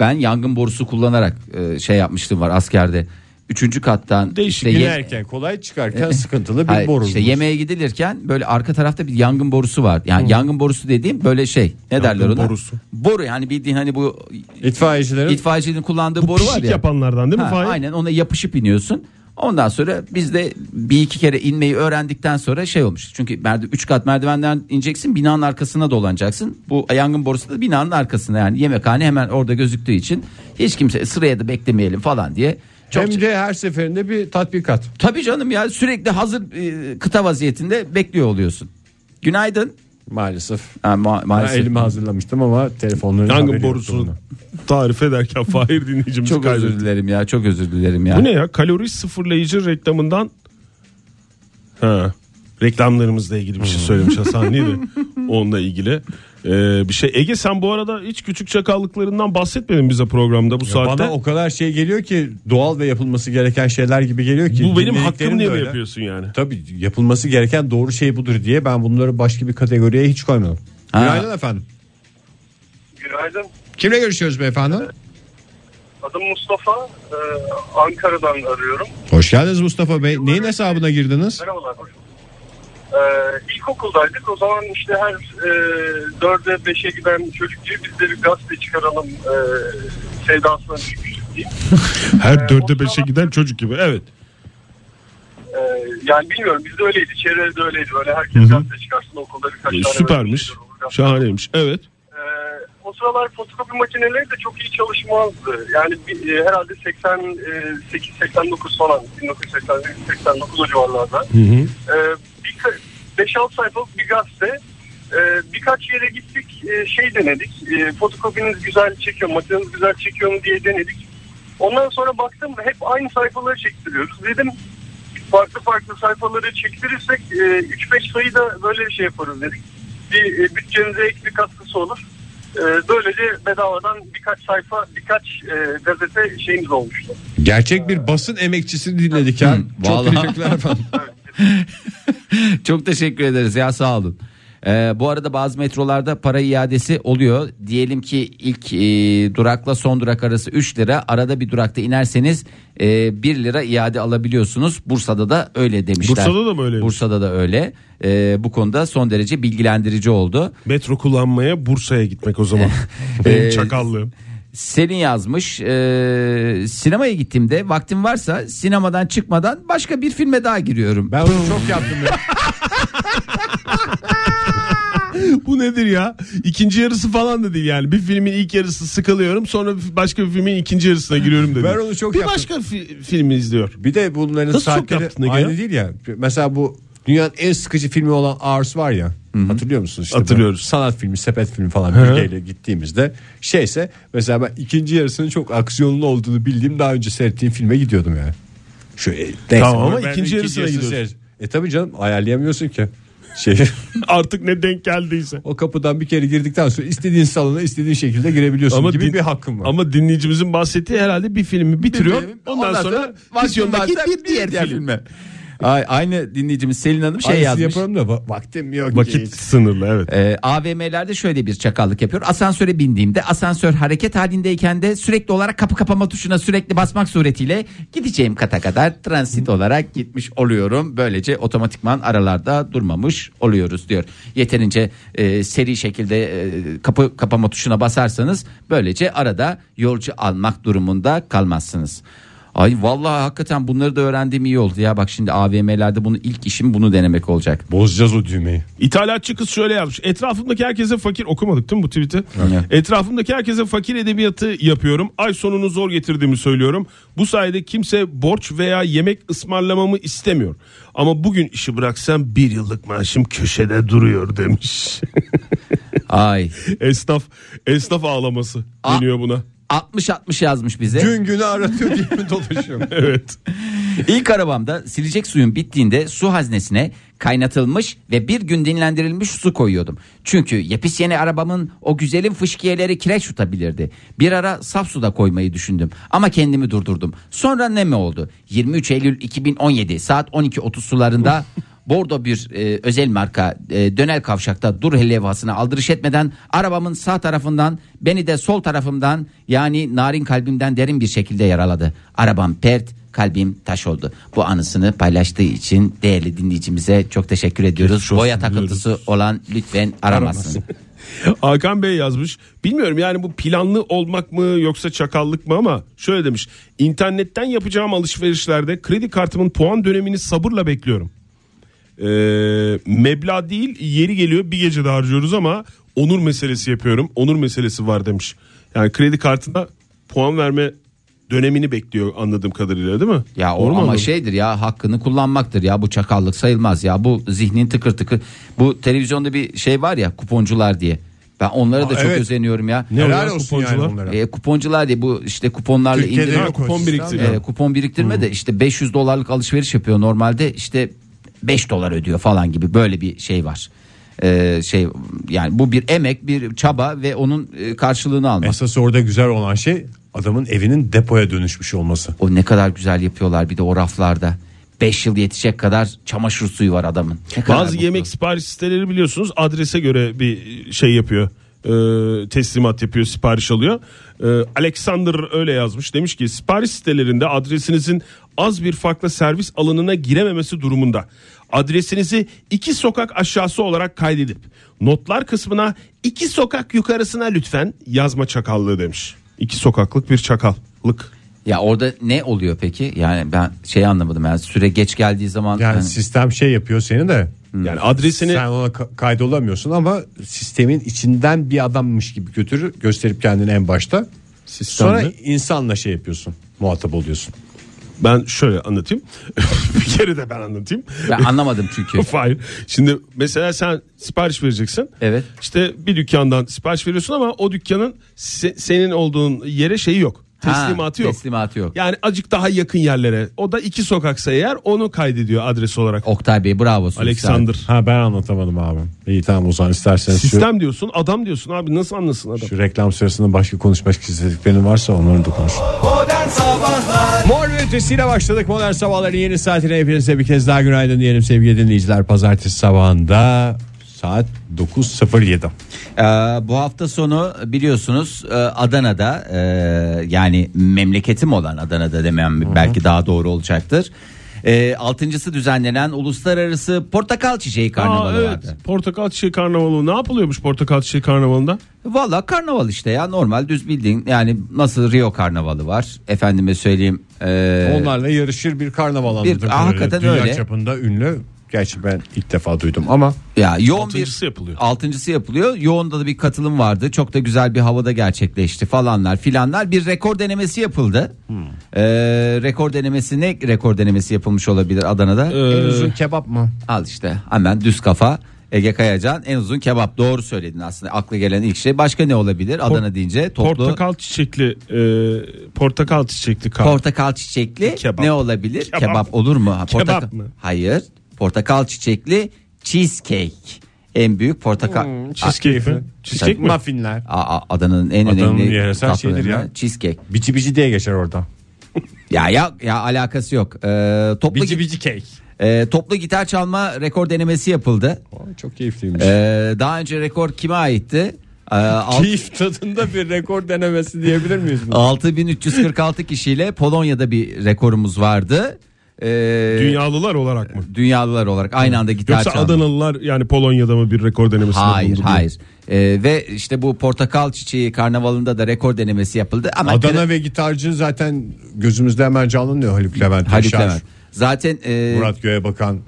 [SPEAKER 3] Ben yangın borusu kullanarak e, şey yapmıştım var askerde. Üçüncü kattan
[SPEAKER 4] Değişik
[SPEAKER 3] işte ye-
[SPEAKER 2] Binerken kolay çıkarken sıkıntılı bir
[SPEAKER 3] Hayır,
[SPEAKER 2] borun.
[SPEAKER 4] şey-
[SPEAKER 3] işte yemeğe gidilirken böyle arka tarafta bir yangın borusu var. Yani yangın borusu dediğim böyle şey. Ne derler ona?
[SPEAKER 4] borusu.
[SPEAKER 3] Boru yani bildiğin hani bu
[SPEAKER 2] İtfaiyecilerin
[SPEAKER 3] itfaiyecinin kullandığı boru var
[SPEAKER 4] Pişik
[SPEAKER 3] ya.
[SPEAKER 4] yapanlardan değil mi
[SPEAKER 3] Ha,
[SPEAKER 4] Fahir?
[SPEAKER 3] aynen ona yapışıp iniyorsun. Ondan sonra biz de bir iki kere inmeyi öğrendikten sonra şey olmuş. Çünkü merdi 3 kat merdivenden ineceksin binanın arkasına dolanacaksın. Bu yangın borusu da binanın arkasına yani yemekhane hemen orada gözüktüğü için hiç kimse sıraya da beklemeyelim falan diye
[SPEAKER 2] Hem de her seferinde bir tatbikat.
[SPEAKER 3] Tabii canım ya sürekli hazır e, kıta vaziyetinde bekliyor oluyorsun. Günaydın.
[SPEAKER 2] Maalesef.
[SPEAKER 3] Ha, ma-
[SPEAKER 2] Ben
[SPEAKER 3] maalesef.
[SPEAKER 2] elimi hazırlamıştım ama telefonların haberi
[SPEAKER 4] Yangın
[SPEAKER 2] yoktu
[SPEAKER 4] borusunu
[SPEAKER 2] bunun.
[SPEAKER 4] tarif ederken Fahir dinleyicimiz
[SPEAKER 3] Çok
[SPEAKER 4] kaybetti.
[SPEAKER 3] özür dilerim ya çok özür dilerim ya.
[SPEAKER 4] Bu ne ya? Kalori sıfırlayıcı reklamından ha, reklamlarımızla ilgili bir şey söylemiş Hasan değil mi? Onunla ilgili ee, bir şey. Ege sen bu arada hiç küçük çakallıklarından bahsetmedin bize programda bu saatte.
[SPEAKER 2] Bana o kadar şey geliyor ki doğal ve yapılması gereken şeyler gibi geliyor ki.
[SPEAKER 4] bu benim
[SPEAKER 2] dinlediklerim
[SPEAKER 4] hakkım
[SPEAKER 2] de
[SPEAKER 4] diye mi
[SPEAKER 2] öyle.
[SPEAKER 4] yapıyorsun yani?
[SPEAKER 2] Tabii yapılması gereken doğru şey budur diye ben bunları başka bir kategoriye hiç koymadım.
[SPEAKER 3] Ha.
[SPEAKER 2] Günaydın efendim.
[SPEAKER 6] Günaydın.
[SPEAKER 2] Kimle görüşüyoruz beyefendi?
[SPEAKER 6] Adım Mustafa. Ee,
[SPEAKER 1] E,
[SPEAKER 6] Ankara'dan arıyorum.
[SPEAKER 2] Hoş geldiniz Mustafa Bey. Neyin hesabına girdiniz?
[SPEAKER 6] Merhabalar. Ee, ilkokuldaydık. O zaman işte her e, dörde beşe giden çocuk gibi biz de bir gazete çıkaralım e, sevdasına düşmüştük diye. Ee,
[SPEAKER 4] Her dörde
[SPEAKER 6] o
[SPEAKER 4] beşe
[SPEAKER 6] zaman-
[SPEAKER 4] giden çocuk gibi evet.
[SPEAKER 6] Ee, yani bilmiyorum bizde öyleydi. Çevrede öyleydi. Böyle herkes gazete çıkarsın okulda birkaç
[SPEAKER 4] Ee,
[SPEAKER 6] tane.
[SPEAKER 4] Süpermiş.
[SPEAKER 6] öyle bir şey olur.
[SPEAKER 4] Şahaneymiş. Evet.
[SPEAKER 6] Ee, o sıralar fotokopi makineleri de çok iyi çalışmazdı. Yani bir- e, herhalde e, 88-89 falan 1988-89 o civarlarda. Ee, bir ka- 5-6 sayfalık bir gazete. Ee, birkaç yere gittik e, şey denedik. E, fotokopiniz güzel çekiyor mu, makineniz güzel çekiyor mu diye denedik. Ondan sonra baktım hep aynı sayfaları çektiriyoruz. Dedim farklı farklı sayfaları çektirirsek e, 3-5 sayı da böyle bir şey yaparız dedik. Bir e, bütçemize ek bir katkısı olur. E, böylece bedavadan birkaç sayfa, birkaç e, gazete şeyimiz olmuştu.
[SPEAKER 2] Gerçek bir basın emekçisini dinledik ya.
[SPEAKER 3] Hı,
[SPEAKER 2] Çok
[SPEAKER 3] vallahi.
[SPEAKER 2] teşekkürler efendim.
[SPEAKER 3] Çok teşekkür ederiz ya sağ olun. Ee, bu arada bazı metrolarda para iadesi oluyor. Diyelim ki ilk e, durakla son durak arası 3 lira. Arada bir durakta inerseniz e, 1 lira iade alabiliyorsunuz. Bursa'da da öyle demişler.
[SPEAKER 4] Bursa'da da mı öyleymiş?
[SPEAKER 3] Bursa'da da öyle. Ee, bu konuda son derece bilgilendirici oldu.
[SPEAKER 4] Metro kullanmaya Bursa'ya gitmek o zaman. Benim
[SPEAKER 3] Ee,
[SPEAKER 4] çakallığım.
[SPEAKER 3] Selin yazmış. e, sinemaya gittiğimde vaktim varsa sinemadan çıkmadan başka bir filme daha giriyorum.
[SPEAKER 2] Ben bunu çok yaptım. ya.
[SPEAKER 4] Bu nedir ya? İkinci yarısı falan da değil yani. Bir filmin ilk yarısı sıkılıyorum sonra başka bir filmin ikinci yarısına giriyorum dedi.
[SPEAKER 2] Ben onu çok
[SPEAKER 4] bir
[SPEAKER 2] yaptım.
[SPEAKER 4] başka fi- filmi izliyor.
[SPEAKER 2] Bir de bunların
[SPEAKER 4] Nasıl çok yaptın
[SPEAKER 2] saatleri
[SPEAKER 4] Ege
[SPEAKER 2] aynı
[SPEAKER 4] ya?
[SPEAKER 2] değil ya. Mesela bu dünyanın en sıkıcı filmi olan Ours var ya. Hatırlıyor musunuz? İşte
[SPEAKER 4] Hatırlıyoruz.
[SPEAKER 2] böyle Sanat filmi, sepet filmi falan bölgeyle gittiğimizde şeyse mesela ben ikinci yarısının çok aksiyonlu olduğunu bildiğim daha önce seyrettiğim filme gidiyordum yani. Şu, e, neyse.
[SPEAKER 4] Tamam ama
[SPEAKER 2] Ben
[SPEAKER 4] ikinci yarısına gidiyorsun.
[SPEAKER 2] seyret- E tabi canım ayarlayamıyorsun ki. Şey,
[SPEAKER 4] Artık ne denk geldiyse.
[SPEAKER 2] o kapıdan bir kere girdikten sonra istediğin salona istediğin şekilde girebiliyorsun gibi
[SPEAKER 4] din-
[SPEAKER 2] bir hakkım var.
[SPEAKER 4] Ama dinleyicimizin bahsettiği herhalde bir filmi bitiriyor.
[SPEAKER 3] Ondan,
[SPEAKER 4] ondan, sonra, vizyondaki
[SPEAKER 3] varsa
[SPEAKER 4] bir diğer, film.
[SPEAKER 3] filme. Ay, aynı dinleyicimiz Selin Hanım şey
[SPEAKER 2] Aynısını
[SPEAKER 3] yazmış.
[SPEAKER 2] yaparım da va- vaktim yok.
[SPEAKER 4] Vakit sınırlı evet.
[SPEAKER 3] Ee, AVM'lerde şöyle bir çakallık yapıyor. Asansöre bindiğimde asansör hareket halindeyken de sürekli olarak kapı kapama tuşuna sürekli basmak suretiyle gideceğim kata kadar transit olarak gitmiş oluyorum. Böylece otomatikman aralarda durmamış oluyoruz diyor. Yeterince e, seri şekilde e, kapı kapama tuşuna basarsanız böylece arada yolcu almak durumunda kalmazsınız. Ay vallahi hakikaten bunları da öğrendiğim iyi oldu ya. Bak şimdi AVM'lerde bunu ilk işim bunu denemek olacak.
[SPEAKER 2] Bozacağız o düğmeyi.
[SPEAKER 4] İthalatçı kız şöyle yazmış. Etrafımdaki herkese fakir okumadık değil mi bu tweet'i?
[SPEAKER 3] Evet.
[SPEAKER 4] Etrafımdaki herkese fakir edebiyatı yapıyorum. Ay sonunu zor getirdiğimi söylüyorum. Bu sayede kimse borç veya yemek ısmarlamamı istemiyor. Ama bugün işi bıraksam bir yıllık maaşım köşede duruyor demiş.
[SPEAKER 3] Ay
[SPEAKER 4] esnaf esnaf ağlaması
[SPEAKER 3] A-
[SPEAKER 4] deniyor buna.
[SPEAKER 3] 60-60 yazmış bize.
[SPEAKER 2] Gün günü aratıyor diye mi dolaşıyorum?
[SPEAKER 4] Evet.
[SPEAKER 3] İlk arabamda silecek suyun bittiğinde su haznesine kaynatılmış ve bir gün dinlendirilmiş su koyuyordum. Çünkü yepis yeni arabamın o güzelim fışkiyeleri kireç tutabilirdi. Bir ara saf suda koymayı düşündüm ama kendimi durdurdum. Sonra ne mi oldu? 23 Eylül 2017 saat 12.30 sularında Bordo bir e, özel marka e, dönel kavşakta dur hele levhasına aldırış etmeden arabamın sağ tarafından beni de sol tarafımdan yani narin kalbimden derin bir şekilde yaraladı. Arabam pert kalbim taş oldu. Bu anısını paylaştığı için değerli dinleyicimize çok teşekkür ediyoruz. Boya takıntısı olan lütfen aramasın.
[SPEAKER 4] Hakan Bey yazmış. Bilmiyorum yani bu planlı olmak mı yoksa çakallık mı ama şöyle demiş. İnternetten yapacağım alışverişlerde kredi kartımın puan dönemini sabırla bekliyorum. Ee, meblağ değil yeri geliyor bir gece de harcıyoruz ama onur meselesi yapıyorum. Onur meselesi var demiş. Yani kredi kartına puan verme dönemini bekliyor anladığım kadarıyla değil mi?
[SPEAKER 3] Ya o
[SPEAKER 4] Doğru mu
[SPEAKER 3] ama
[SPEAKER 4] anladım?
[SPEAKER 3] şeydir ya hakkını kullanmaktır ya bu çakallık sayılmaz ya bu zihnin tıkır tıkır. Bu televizyonda bir şey var ya kuponcular diye. Ben onlara da çok
[SPEAKER 2] evet.
[SPEAKER 3] özeniyorum ya.
[SPEAKER 2] Ne Helal
[SPEAKER 4] oluyor
[SPEAKER 2] olsun yani
[SPEAKER 4] kuponcular?
[SPEAKER 2] onlara.
[SPEAKER 3] E, kuponcular diye bu işte kuponlarla
[SPEAKER 2] Türkiye'de
[SPEAKER 3] indirim-
[SPEAKER 2] yok
[SPEAKER 4] kupon
[SPEAKER 2] o sistem.
[SPEAKER 4] biriktir-
[SPEAKER 3] e, kupon biriktirme de işte 500 dolarlık alışveriş yapıyor normalde işte 5 dolar ödüyor falan gibi böyle bir şey var. E, şey yani bu bir emek bir çaba ve onun e, karşılığını almak.
[SPEAKER 2] Esas orada güzel olan şey adamın evinin depoya dönüşmüş olması.
[SPEAKER 3] O ne kadar güzel yapıyorlar bir de o raflarda. 5 yıl yetecek kadar çamaşır suyu var adamın. Ne kadar
[SPEAKER 4] Bazı
[SPEAKER 3] mutlu.
[SPEAKER 4] yemek sipariş siteleri biliyorsunuz adrese göre bir şey yapıyor. Ee, teslimat yapıyor sipariş alıyor. Ee, Alexander öyle yazmış demiş ki sipariş sitelerinde adresinizin az bir farklı servis alanına girememesi durumunda adresinizi iki sokak aşağısı olarak kaydedip notlar kısmına iki sokak yukarısına lütfen yazma çakallığı demiş. İki sokaklık bir çakallık.
[SPEAKER 3] Ya orada ne oluyor peki? Yani ben şey anlamadım. Yani süre geç geldiği zaman
[SPEAKER 2] Yani
[SPEAKER 3] hani-
[SPEAKER 2] sistem şey yapıyor seni de.
[SPEAKER 4] Yani adresini
[SPEAKER 2] Sen ona ka- kaydolamıyorsun ama sistemin içinden bir adammış gibi götürür gösterip kendini en başta.
[SPEAKER 4] sistemde-
[SPEAKER 2] Sonra insanla şey yapıyorsun. Muhatap oluyorsun.
[SPEAKER 4] ben şöyle anlatayım. bir kere de ben anlatayım.
[SPEAKER 3] ben anlamadım çünkü.
[SPEAKER 4] Hayır. Şimdi mesela sen sipariş vereceksin.
[SPEAKER 3] Evet.
[SPEAKER 4] İşte bir dükkandan sipariş veriyorsun ama o dükkanın se- senin olduğun yere şeyi yok.
[SPEAKER 3] Ha,
[SPEAKER 4] Teslimatı yok.
[SPEAKER 3] Teslimatı yok.
[SPEAKER 4] Yani acık daha yakın yerlere. O da iki sokaksa eğer onu kaydediyor adres olarak.
[SPEAKER 3] Oktay Bey bravo. size.
[SPEAKER 4] Alexander.
[SPEAKER 2] Ha ben anlatamadım abi. İyi tamam o zaman isterseniz şu-
[SPEAKER 4] Sistem diyorsun, adam diyorsun abi nasıl anlasın adam?
[SPEAKER 2] şu, reklam sırasında başka konuşmak istediklerin varsa onların da konuşun.
[SPEAKER 7] Modern Sabahlar
[SPEAKER 2] Mor ve ötesiyle başladık modern sabahların yeni saatine hepinize bir kez daha günaydın diyelim sevgili dinleyiciler. Pazartesi sabahında saat 9.07.
[SPEAKER 3] Ee, bu hafta sonu biliyorsunuz e, Adana'da e, yani memleketim olan Adana'da demem belki daha doğru olacaktır. E, altıncısı düzenlenen uluslararası portakal çiçeği
[SPEAKER 2] hani
[SPEAKER 3] karnavalı
[SPEAKER 4] Aa, evet.
[SPEAKER 3] vardı.
[SPEAKER 4] Portakal çiçeği karnavalı. Ne yapılıyormuş portakal çiçeği karnavalında?
[SPEAKER 3] Valla karnaval işte ya normal düz bildiğin yani nasıl Rio karnavalı var efendime söyleyeyim. e,
[SPEAKER 2] Onlarla yarışır Ee, bir karnaval anladığım
[SPEAKER 3] bir-
[SPEAKER 2] kadarıyla.
[SPEAKER 3] hakikaten
[SPEAKER 2] Dünya
[SPEAKER 3] öyle.
[SPEAKER 2] çapında ünlü. Gerçi ben ilk defa duydum ama
[SPEAKER 3] Ya yoğun
[SPEAKER 4] Altıncısı
[SPEAKER 3] bir
[SPEAKER 4] yapılıyor.
[SPEAKER 3] Altıncısı yapılıyor. Yoğunda da bir katılım vardı. Çok da güzel bir havada gerçekleşti falanlar filanlar. Bir rekor denemesi yapıldı.
[SPEAKER 4] Hmm.
[SPEAKER 3] Ee, rekor denemesi ne rekor denemesi yapılmış olabilir Adana'da?
[SPEAKER 4] Ee,
[SPEAKER 2] en uzun kebap mı?
[SPEAKER 3] Al işte hemen düz kafa. Ege Kayacan en uzun kebap doğru söyledin aslında akla gelen ilk şey başka ne olabilir Adana deyince toplu portakal,
[SPEAKER 4] Portakal çiçekli e, portakal çiçekli kar.
[SPEAKER 3] çiçekli
[SPEAKER 4] Kebap.
[SPEAKER 3] ne olabilir kebap,
[SPEAKER 4] Kebap.
[SPEAKER 3] olur mu Ha,
[SPEAKER 4] Kebap
[SPEAKER 3] portakal-
[SPEAKER 4] mı?
[SPEAKER 3] hayır portakal çiçekli cheesecake en büyük portakal
[SPEAKER 4] cheesecake mi? Cheesecake mi?
[SPEAKER 2] Muffinler.
[SPEAKER 3] Aa, Adana'nın en
[SPEAKER 2] Adana'nın
[SPEAKER 3] önemli
[SPEAKER 2] yöresel
[SPEAKER 3] tatlarından
[SPEAKER 2] şeyidir ya.
[SPEAKER 3] cheesecake.
[SPEAKER 2] Bici bici diye geçer orada.
[SPEAKER 3] Ya ya ya alakası yok. Ee, toplu
[SPEAKER 2] Bici
[SPEAKER 3] gi-
[SPEAKER 2] bici cake.
[SPEAKER 3] e, toplu gitar çalma rekor denemesi yapıldı.
[SPEAKER 2] Çok keyifliymiş.
[SPEAKER 3] Ee, daha önce rekor kime aitti? Ee, alt-
[SPEAKER 2] Keyif tadında bir rekor denemesi diyebilir miyiz? bunu?
[SPEAKER 3] 6346 kişiyle Polonya'da bir rekorumuz vardı. Ee,
[SPEAKER 4] Dünyalılar olarak mı?
[SPEAKER 3] dünyalılar olarak aynı anda gitar
[SPEAKER 4] Yoksa
[SPEAKER 3] çalma.
[SPEAKER 4] Adanalılar yani Polonya'da mı bir rekor denemesinde
[SPEAKER 3] Hayır
[SPEAKER 4] bulundu diye.
[SPEAKER 3] hayır. Ee, ve işte bu portakal çiçeği karnavalında da rekor denemesi yapıldı. Ama
[SPEAKER 2] Adana ve gitarcı zaten gözümüzde hemen canlanıyor Haluk Levent. Ee,
[SPEAKER 3] Haluk
[SPEAKER 2] Yaşar,
[SPEAKER 3] Levent. Zaten e,
[SPEAKER 2] Murat Göğe Bakan.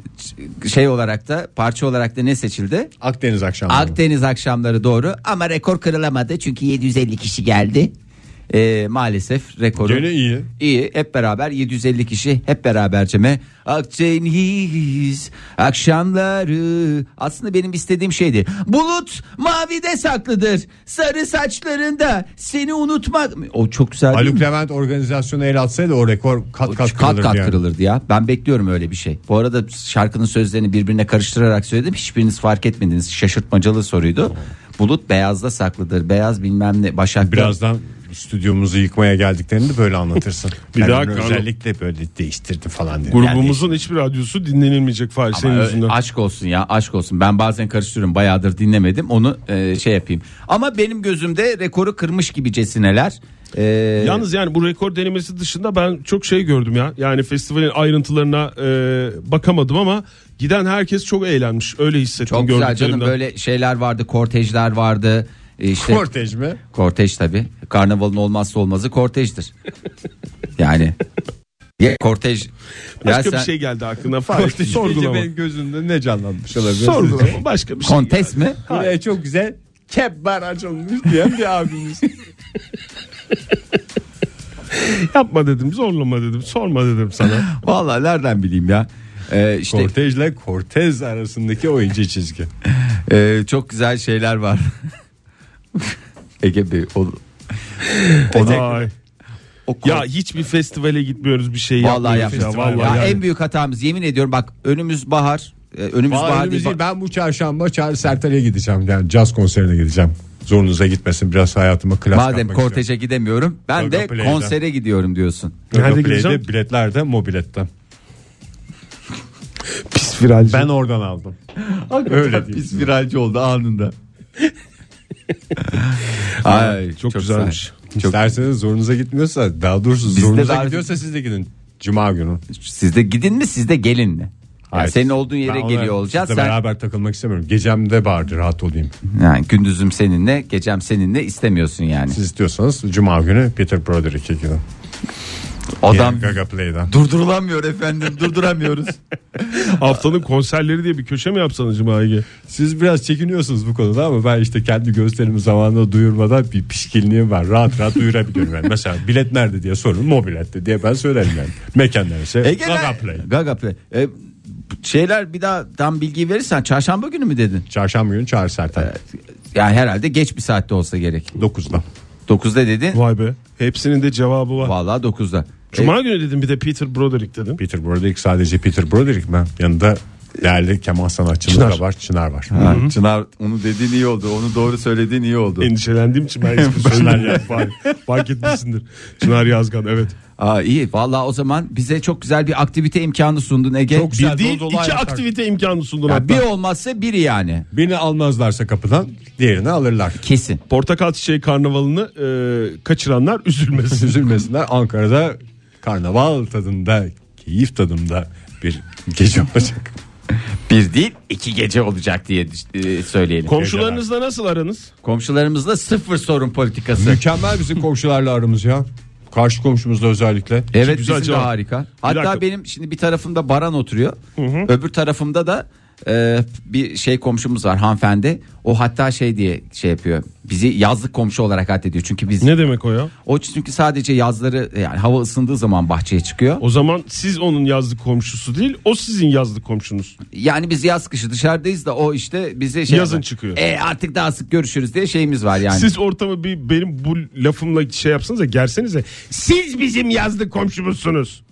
[SPEAKER 3] şey olarak da parça olarak da ne seçildi?
[SPEAKER 2] Akdeniz akşamları.
[SPEAKER 3] Akdeniz akşamları doğru ama rekor kırılamadı çünkü 750 kişi geldi. Ee, maalesef rekoru.
[SPEAKER 2] Gene iyi.
[SPEAKER 3] İyi hep beraber 750 kişi hep beraberceme Akdeniz akşamları aslında benim istediğim şeydi. Bulut mavide saklıdır sarı saçlarında seni unutmak. O çok güzel değil mi?
[SPEAKER 2] Haluk Levent organizasyonu el atsaydı o rekor kat kat
[SPEAKER 3] kat
[SPEAKER 2] kırılırdı.
[SPEAKER 3] kat
[SPEAKER 2] yani.
[SPEAKER 3] kırılırdı ya. Ben bekliyorum öyle bir şey. Bu arada şarkının sözlerini birbirine karıştırarak söyledim. Hiçbiriniz fark etmediniz. Şaşırtmacalı soruydu. Bulut beyazda saklıdır. Beyaz bilmem ne başakta.
[SPEAKER 2] Birazdan stüdyomuzu yıkmaya geldiklerini de böyle anlatırsın.
[SPEAKER 4] Bir
[SPEAKER 2] Ben
[SPEAKER 4] daha
[SPEAKER 2] onu
[SPEAKER 4] Karlo-
[SPEAKER 2] özellikle böyle değiştirdi falan diye.
[SPEAKER 4] Grubumuzun hiçbir radyosu dinlenilmeyecek Fahir
[SPEAKER 3] Ama
[SPEAKER 4] senin
[SPEAKER 3] ö-
[SPEAKER 4] yüzünden.
[SPEAKER 3] aşk olsun ya aşk olsun. Ben bazen karıştırıyorum. Bayağıdır dinlemedim. Onu e, şey yapayım. Ama benim gözümde rekoru kırmış gibi cesineler. E,
[SPEAKER 4] Yalnız yani bu rekor denemesi dışında ben çok şey gördüm ya. Yani festivalin ayrıntılarına e, bakamadım ama giden herkes çok eğlenmiş. Öyle hissettim
[SPEAKER 3] çok güzel canım
[SPEAKER 4] gördüklerimden.
[SPEAKER 3] böyle şeyler vardı. Kortejler vardı. E, işte
[SPEAKER 2] Kortej mi?
[SPEAKER 3] Kortej tabi. Karnavalın olmazsa olmazı kortejdir. Yani. Ya kortej.
[SPEAKER 4] Başka
[SPEAKER 3] ya
[SPEAKER 4] bir
[SPEAKER 3] sen
[SPEAKER 4] şey geldi aklına Fahir. Sorgulama.
[SPEAKER 2] gözümde ne canlanmış olabilir?
[SPEAKER 4] Sorgulama başka bir şey.
[SPEAKER 3] kontes mi?
[SPEAKER 2] Buraya çok güzel kebbar açılmış diyen bir abimiz.
[SPEAKER 4] Yapma dedim zorlama dedim sorma dedim sana.
[SPEAKER 2] Vallahi nereden bileyim ya.
[SPEAKER 3] Ee, işte
[SPEAKER 2] Cortez ile Cortez arasındaki o ince çizgi.
[SPEAKER 3] e, çok güzel şeyler var. Ege Bey o,
[SPEAKER 4] Ay.
[SPEAKER 3] o kor-
[SPEAKER 4] Ya hiçbir festivale gitmiyoruz bir şey
[SPEAKER 3] Vallahi
[SPEAKER 4] yapmıyoruz
[SPEAKER 3] yapmıştım.
[SPEAKER 4] ya. Vallahi
[SPEAKER 3] ya
[SPEAKER 4] yani.
[SPEAKER 3] en büyük hatamız yemin ediyorum bak önümüz bahar. e, önümüz bahar,
[SPEAKER 2] Bahar
[SPEAKER 3] değil,
[SPEAKER 2] müziği ben bu çarşamba Çağrı Sertel'e gideceğim. Yani caz konserine gideceğim. Zorunuza gitmesin biraz hayatıma klas
[SPEAKER 3] Madem
[SPEAKER 2] katmak
[SPEAKER 3] korteje gidemiyorum ben
[SPEAKER 2] Gaga
[SPEAKER 3] de
[SPEAKER 2] Play'den.
[SPEAKER 3] konsere gidiyorum diyorsun.
[SPEAKER 2] istiyorum.
[SPEAKER 4] Nerede
[SPEAKER 2] Nerede
[SPEAKER 4] gideceğim?
[SPEAKER 2] Biletler de mobiletten.
[SPEAKER 4] Pis viralci.
[SPEAKER 2] Ben oradan aldım. Öyle diyeyim.
[SPEAKER 3] Pis viralci oldu anında. Ay,
[SPEAKER 4] çok güzelmiş.
[SPEAKER 2] İsterseniz zorunuza gitmiyorsa daha doğrusu zorunuza
[SPEAKER 3] davet-
[SPEAKER 2] gidiyorsa siz de gidin. Cuma günü.
[SPEAKER 3] Siz de gidin mi siz de gelin mi? Yani
[SPEAKER 2] Hayır.
[SPEAKER 3] senin olduğun yere
[SPEAKER 2] Ben ona
[SPEAKER 3] geliyor olacağız.
[SPEAKER 2] sizle
[SPEAKER 3] Sen,
[SPEAKER 2] beraber takılmak istemiyorum. Gecemde bağırdı rahat olayım.
[SPEAKER 3] yani gündüzüm seninle, gecem seninle istemiyorsun yani.
[SPEAKER 2] Siz istiyorsanız Cuma günü Peter Broderick'e gidin.
[SPEAKER 3] Adam
[SPEAKER 2] Yine Gaga Play'den.
[SPEAKER 3] durdurulamıyor efendim, durduramıyoruz.
[SPEAKER 4] Haftanın konserleri diye bir köşe mi yapsanız Cuma Ege?
[SPEAKER 2] Siz biraz çekiniyorsunuz bu konuda ama ben işte kendi gösterimi zamanında duyurmadan bir pişkinliğim var. Rahat rahat duyurabiliyorum. Yani. Mesela bilet nerede diye sorun. Mobilette diye ben söylerim yani. Mekan neresi?
[SPEAKER 3] Ege
[SPEAKER 2] Gaga Play.
[SPEAKER 3] Gaga Play. E, şeyler bir daha tam bilgi verirsen çarşamba günü mü dedin?
[SPEAKER 2] Çarşamba günü Çağrı Sertel.
[SPEAKER 3] Yani herhalde geç bir saatte olsa gerek.
[SPEAKER 2] 9'da.
[SPEAKER 3] 9'da dedin.
[SPEAKER 4] Vay be. Hepsinin de cevabı var.
[SPEAKER 3] Vallahi 9'da.
[SPEAKER 4] Cuma günü dedim bir de Peter Broderick dedim.
[SPEAKER 2] Peter Broderick sadece Peter Broderick mi? Yanında değerli keman sanatçıları da var. Çınar var.
[SPEAKER 3] Ha, E, Çınar onu dediğin iyi oldu. Onu doğru söylediğin iyi oldu.
[SPEAKER 4] E, Endişelendiğim için ben hiçbir şeyler yapmadım. Fark etmişsindir. Çınar Yazgan evet.
[SPEAKER 3] Aa, iyi. Vallahi o zaman bize çok güzel bir aktivite imkanı sundun Ege.
[SPEAKER 2] Çok güzel.
[SPEAKER 4] Bir değil
[SPEAKER 2] dolu
[SPEAKER 4] iki
[SPEAKER 2] ayaklar.
[SPEAKER 4] aktivite imkanı sundun
[SPEAKER 3] Ya
[SPEAKER 4] hatta.
[SPEAKER 3] bir olmazsa biri yani.
[SPEAKER 2] Birini almazlarsa kapıdan diğerini alırlar.
[SPEAKER 3] Kesin.
[SPEAKER 4] Portakal Çiçeği Karnavalı'nı e, kaçıranlar üzülmesin.
[SPEAKER 2] Üzülmesinler Ankara'da karnaval tadında, keyif tadında bir gece olacak.
[SPEAKER 3] Bir değil iki gece olacak diye e, söyleyelim.
[SPEAKER 4] Komşularınızla nasıl aranız?
[SPEAKER 3] Komşularımızla sıfır sorun politikası.
[SPEAKER 2] Mükemmel bizim komşularla aramız ya. Karşı komşumuzla özellikle.
[SPEAKER 3] Evet
[SPEAKER 4] Güzel
[SPEAKER 3] bizim
[SPEAKER 4] cevap.
[SPEAKER 3] de harika.
[SPEAKER 4] Bir
[SPEAKER 3] Hatta
[SPEAKER 4] dakika.
[SPEAKER 3] benim şimdi bir tarafımda Baran oturuyor. Öbür tarafımda da e, bir şey komşumuz var hanımefendi. O hatta şey diye şey yapıyor. Bizi yazlık komşu olarak addediyor. Çünkü biz
[SPEAKER 4] Ne demek o ya?
[SPEAKER 3] o çünkü sadece yazları yani hava ısındığı zaman bahçeye çıkıyor.
[SPEAKER 4] O zaman siz onun yazlık komşusu değil, o sizin yazlık komşunuz.
[SPEAKER 3] Yani biz yaz kışı dışarıdayız da o işte bize şey
[SPEAKER 4] Yazın
[SPEAKER 3] yapar.
[SPEAKER 4] çıkıyor.
[SPEAKER 3] E artık daha sık görüşürüz diye şeyimiz var yani.
[SPEAKER 4] Siz ortamı bir benim bu lafımla şey yapsanıza, gersenize. Siz bizim yazlık komşumuzsunuz.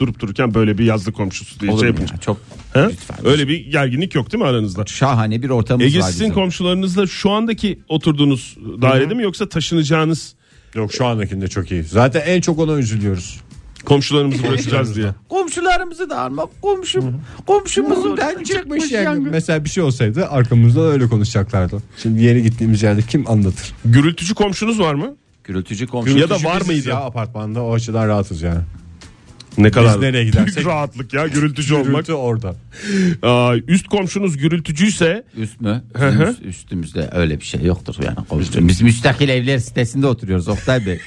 [SPEAKER 4] Durup dururken böyle bir yazlık komşusu diye
[SPEAKER 3] Olur
[SPEAKER 4] şey
[SPEAKER 3] mu
[SPEAKER 4] yapınca.
[SPEAKER 3] ya? Çok
[SPEAKER 4] Ha?
[SPEAKER 3] lütfen.
[SPEAKER 4] Öyle bir gerginlik yok değil mi aranızda?
[SPEAKER 3] şahane bir ortamımız
[SPEAKER 4] Ege
[SPEAKER 3] var
[SPEAKER 4] sizin
[SPEAKER 3] bizim.
[SPEAKER 4] komşularınızla şu andaki oturduğunuz dairede mi yoksa taşınacağınız
[SPEAKER 2] Yok şu andakinde çok iyi. Zaten en çok ona üzülüyoruz.
[SPEAKER 4] komşularımızı bırakacağız diye.
[SPEAKER 3] Komşularımızı da alma. Komşum, komşumuzun
[SPEAKER 2] Ben çıkmış yani. Mesela bir şey olsaydı arkamızda öyle konuşacaklardı. Şimdi yeni gittiğimiz yerde kim anlatır?
[SPEAKER 4] Gürültücü komşunuz var mı?
[SPEAKER 3] Gürültücü komşu.
[SPEAKER 4] Ya da
[SPEAKER 2] Çünkü
[SPEAKER 4] var
[SPEAKER 2] biziz
[SPEAKER 4] mıydı?
[SPEAKER 2] Ya apartmanda o açıdan rahatız yani.
[SPEAKER 4] Ne kadar?
[SPEAKER 2] nereye
[SPEAKER 4] büyük
[SPEAKER 2] gidersek-
[SPEAKER 4] rahatlık ya gürültücü olmak.
[SPEAKER 2] Gürültü orada.
[SPEAKER 4] Aa, üst komşunuz gürültücüyse
[SPEAKER 3] Üst mü? Bizim üst- üstümüzde öyle bir şey yoktur yani. komşu. Biz müstakil evler sitesinde oturuyoruz Oktay Bey.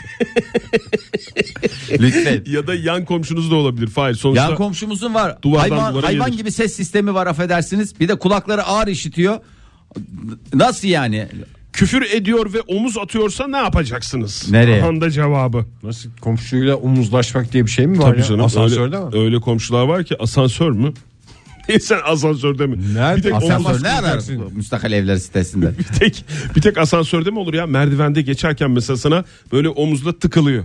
[SPEAKER 3] Lütfen.
[SPEAKER 4] ya da yan komşunuz da olabilir. Hayır sonuçta
[SPEAKER 3] Yan komşumuzun var.
[SPEAKER 4] Duvardan
[SPEAKER 3] hayvan
[SPEAKER 4] duvara
[SPEAKER 3] hayvan
[SPEAKER 4] gelir.
[SPEAKER 3] gibi ses sistemi var affedersiniz. Bir de kulakları ağır işitiyor. Nasıl yani?
[SPEAKER 4] küfür ediyor ve omuz atıyorsa ne yapacaksınız?
[SPEAKER 3] Nereye?
[SPEAKER 4] Aha da cevabı.
[SPEAKER 2] Nasıl komşuyla omuzlaşmak diye bir şey mi var
[SPEAKER 4] Tabii
[SPEAKER 2] ya?
[SPEAKER 4] canım.
[SPEAKER 2] Asansörde mi?
[SPEAKER 4] öyle, öyle komşular var ki asansör mü? Sen asansörde mi?
[SPEAKER 2] Nerede?
[SPEAKER 4] Bir tek,
[SPEAKER 2] Asansör
[SPEAKER 4] omuz-
[SPEAKER 3] Asansör ne arar
[SPEAKER 2] kıracaksın.
[SPEAKER 3] müstakil evler sitesinde?
[SPEAKER 4] bir tek bir tek asansörde mi olur ya? Merdivende geçerken mesela sana böyle omuzla tıkılıyor.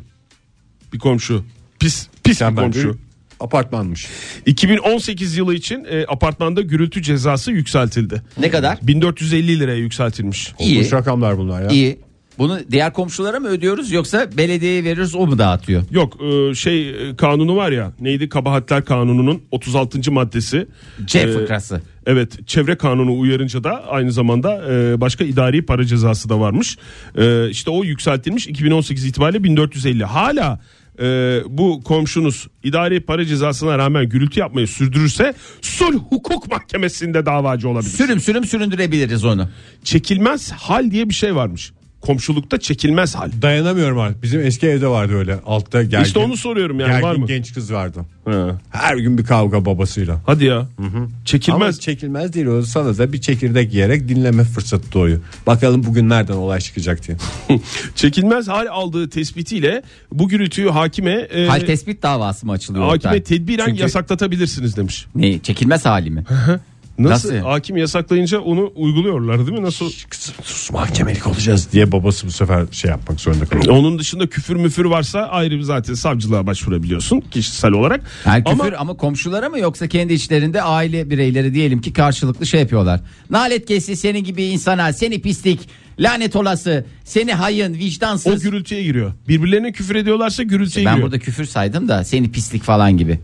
[SPEAKER 4] Bir komşu. Pis pis
[SPEAKER 2] Sen
[SPEAKER 4] bir
[SPEAKER 2] ben
[SPEAKER 4] komşu.
[SPEAKER 2] bir apartmanmış.
[SPEAKER 4] 2018 yılı için e, apartmanda gürültü cezası yükseltildi.
[SPEAKER 3] ne kadar?
[SPEAKER 4] 1450 liraya yükseltilmiş.
[SPEAKER 3] İyi.
[SPEAKER 2] Boş rakamlar bunlar ya.
[SPEAKER 3] İyi. Bunu diğer komşulara mı ödüyoruz yoksa belediyeye veriyoruz o mu dağıtıyor?
[SPEAKER 4] Yok e, şey e, kanunu var ya neydi kabahatler kanununun 36. maddesi.
[SPEAKER 3] C
[SPEAKER 4] E,
[SPEAKER 3] fıkrası.
[SPEAKER 4] Evet çevre kanunu uyarınca da aynı zamanda e, başka idari para cezası da varmış. E, işte o yükseltilmiş 2018 itibariyle 1450. Hala e, bu komşunuz idari para cezasına rağmen gürültü yapmayı sürdürürse sulh hukuk mahkemesinde davacı olabilir.
[SPEAKER 3] Sürüm sürüm süründürebiliriz onu.
[SPEAKER 4] Çekilmez hal diye bir şey varmış. komşulukta çekilmez hal.
[SPEAKER 2] Dayanamıyorum artık. Bizim eski evde vardı öyle. Altta gergin.
[SPEAKER 4] İşte onu soruyorum yani
[SPEAKER 2] gergin
[SPEAKER 4] var mı?
[SPEAKER 2] genç kız vardı.
[SPEAKER 4] He.
[SPEAKER 2] Her gün bir kavga babasıyla.
[SPEAKER 4] Hadi ya. Çekilmez.
[SPEAKER 2] Ama çekilmez değil o sana da bir çekirdek yiyerek dinleme fırsatı doğuyor. Bakalım bugün nereden olay çıkacak diye.
[SPEAKER 4] Çekilmez hal aldığı tespitiyle bu gürültüyü hakime e,
[SPEAKER 3] Hal tespit davası mı açılıyor?
[SPEAKER 4] hakime
[SPEAKER 3] Oktay?
[SPEAKER 4] tedbiren
[SPEAKER 3] Çünkü-
[SPEAKER 4] yasaklatabilirsiniz demiş.
[SPEAKER 3] Ne, çekilmez hali mi?
[SPEAKER 4] Nasıl?
[SPEAKER 3] Nasıl?
[SPEAKER 4] Hakim yasaklayınca onu uyguluyorlar değil mi? Nasıl?
[SPEAKER 2] Kızım sus mahkemelik olacağız diye babası bu sefer şey yapmak zorunda kalıyor.
[SPEAKER 4] Onun dışında küfür müfür varsa ayrı bir zaten savcılığa başvurabiliyorsun kişisel olarak.
[SPEAKER 3] Yani küfür
[SPEAKER 4] Ama
[SPEAKER 3] ama... komşulara mı yoksa kendi içlerinde aile bireyleri diyelim ki karşılıklı şey yapıyorlar. Nalet gelsin senin gibi insana seni pislik lanet olası seni hayın
[SPEAKER 4] o
[SPEAKER 3] vicdansız.
[SPEAKER 4] gürültüye giriyor. Birbirlerine küfür ediyorlarsa gürültüye
[SPEAKER 3] Ben
[SPEAKER 4] giriyor.
[SPEAKER 3] burada küfür saydım da seni pislik falan gibi.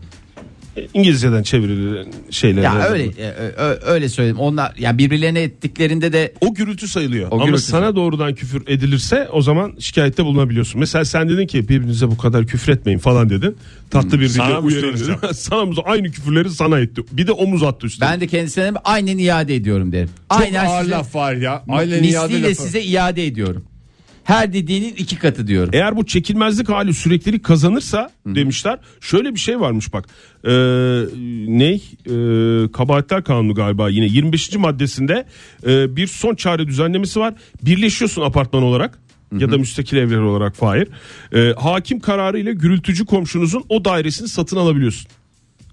[SPEAKER 4] İngilizceden çevrilen şeyler.
[SPEAKER 3] Ya öyle e, ö- öyle söyledim. Onlar ya birbirlerine ettiklerinde de
[SPEAKER 4] O gürültü sayılıyor.
[SPEAKER 3] O
[SPEAKER 4] Ama
[SPEAKER 3] gürültü
[SPEAKER 4] sana doğrudan küfür edilirse o zaman şikayette bulunabiliyorsun. Mesela sen dedin ki birbirinize bu kadar küfür etmeyin falan dedin. Tatlı bir
[SPEAKER 2] Sana
[SPEAKER 4] dille
[SPEAKER 2] mı
[SPEAKER 4] uyarayım
[SPEAKER 2] söyleyeceğim?
[SPEAKER 4] dedin. Sana aynı küfürleri sana etti. Bir de omuz attı üstüne.
[SPEAKER 3] ben de kendisine aynen iade ediyorum derim.
[SPEAKER 2] Çok
[SPEAKER 3] aynen
[SPEAKER 2] ağır
[SPEAKER 3] size-
[SPEAKER 2] laf var ya. Ailenin iade
[SPEAKER 3] misliyle
[SPEAKER 2] lafı.
[SPEAKER 3] size iade ediyorum. Her dediğinin iki katı diyorum.
[SPEAKER 2] E-
[SPEAKER 4] Eğer bu çekilmezlik hali süreklilik kazanırsa demişler. Şöyle bir şey varmış bak. Ee, ney? Ee, kabahatler kanunu galiba yine 25. maddesinde e, bir son çare düzenlemesi var. Birleşiyorsun apartman olarak ya da müstakil evler olarak Fahir. Ee, hakim kararı ile gürültücü komşunuzun o dairesini satın alabiliyorsun.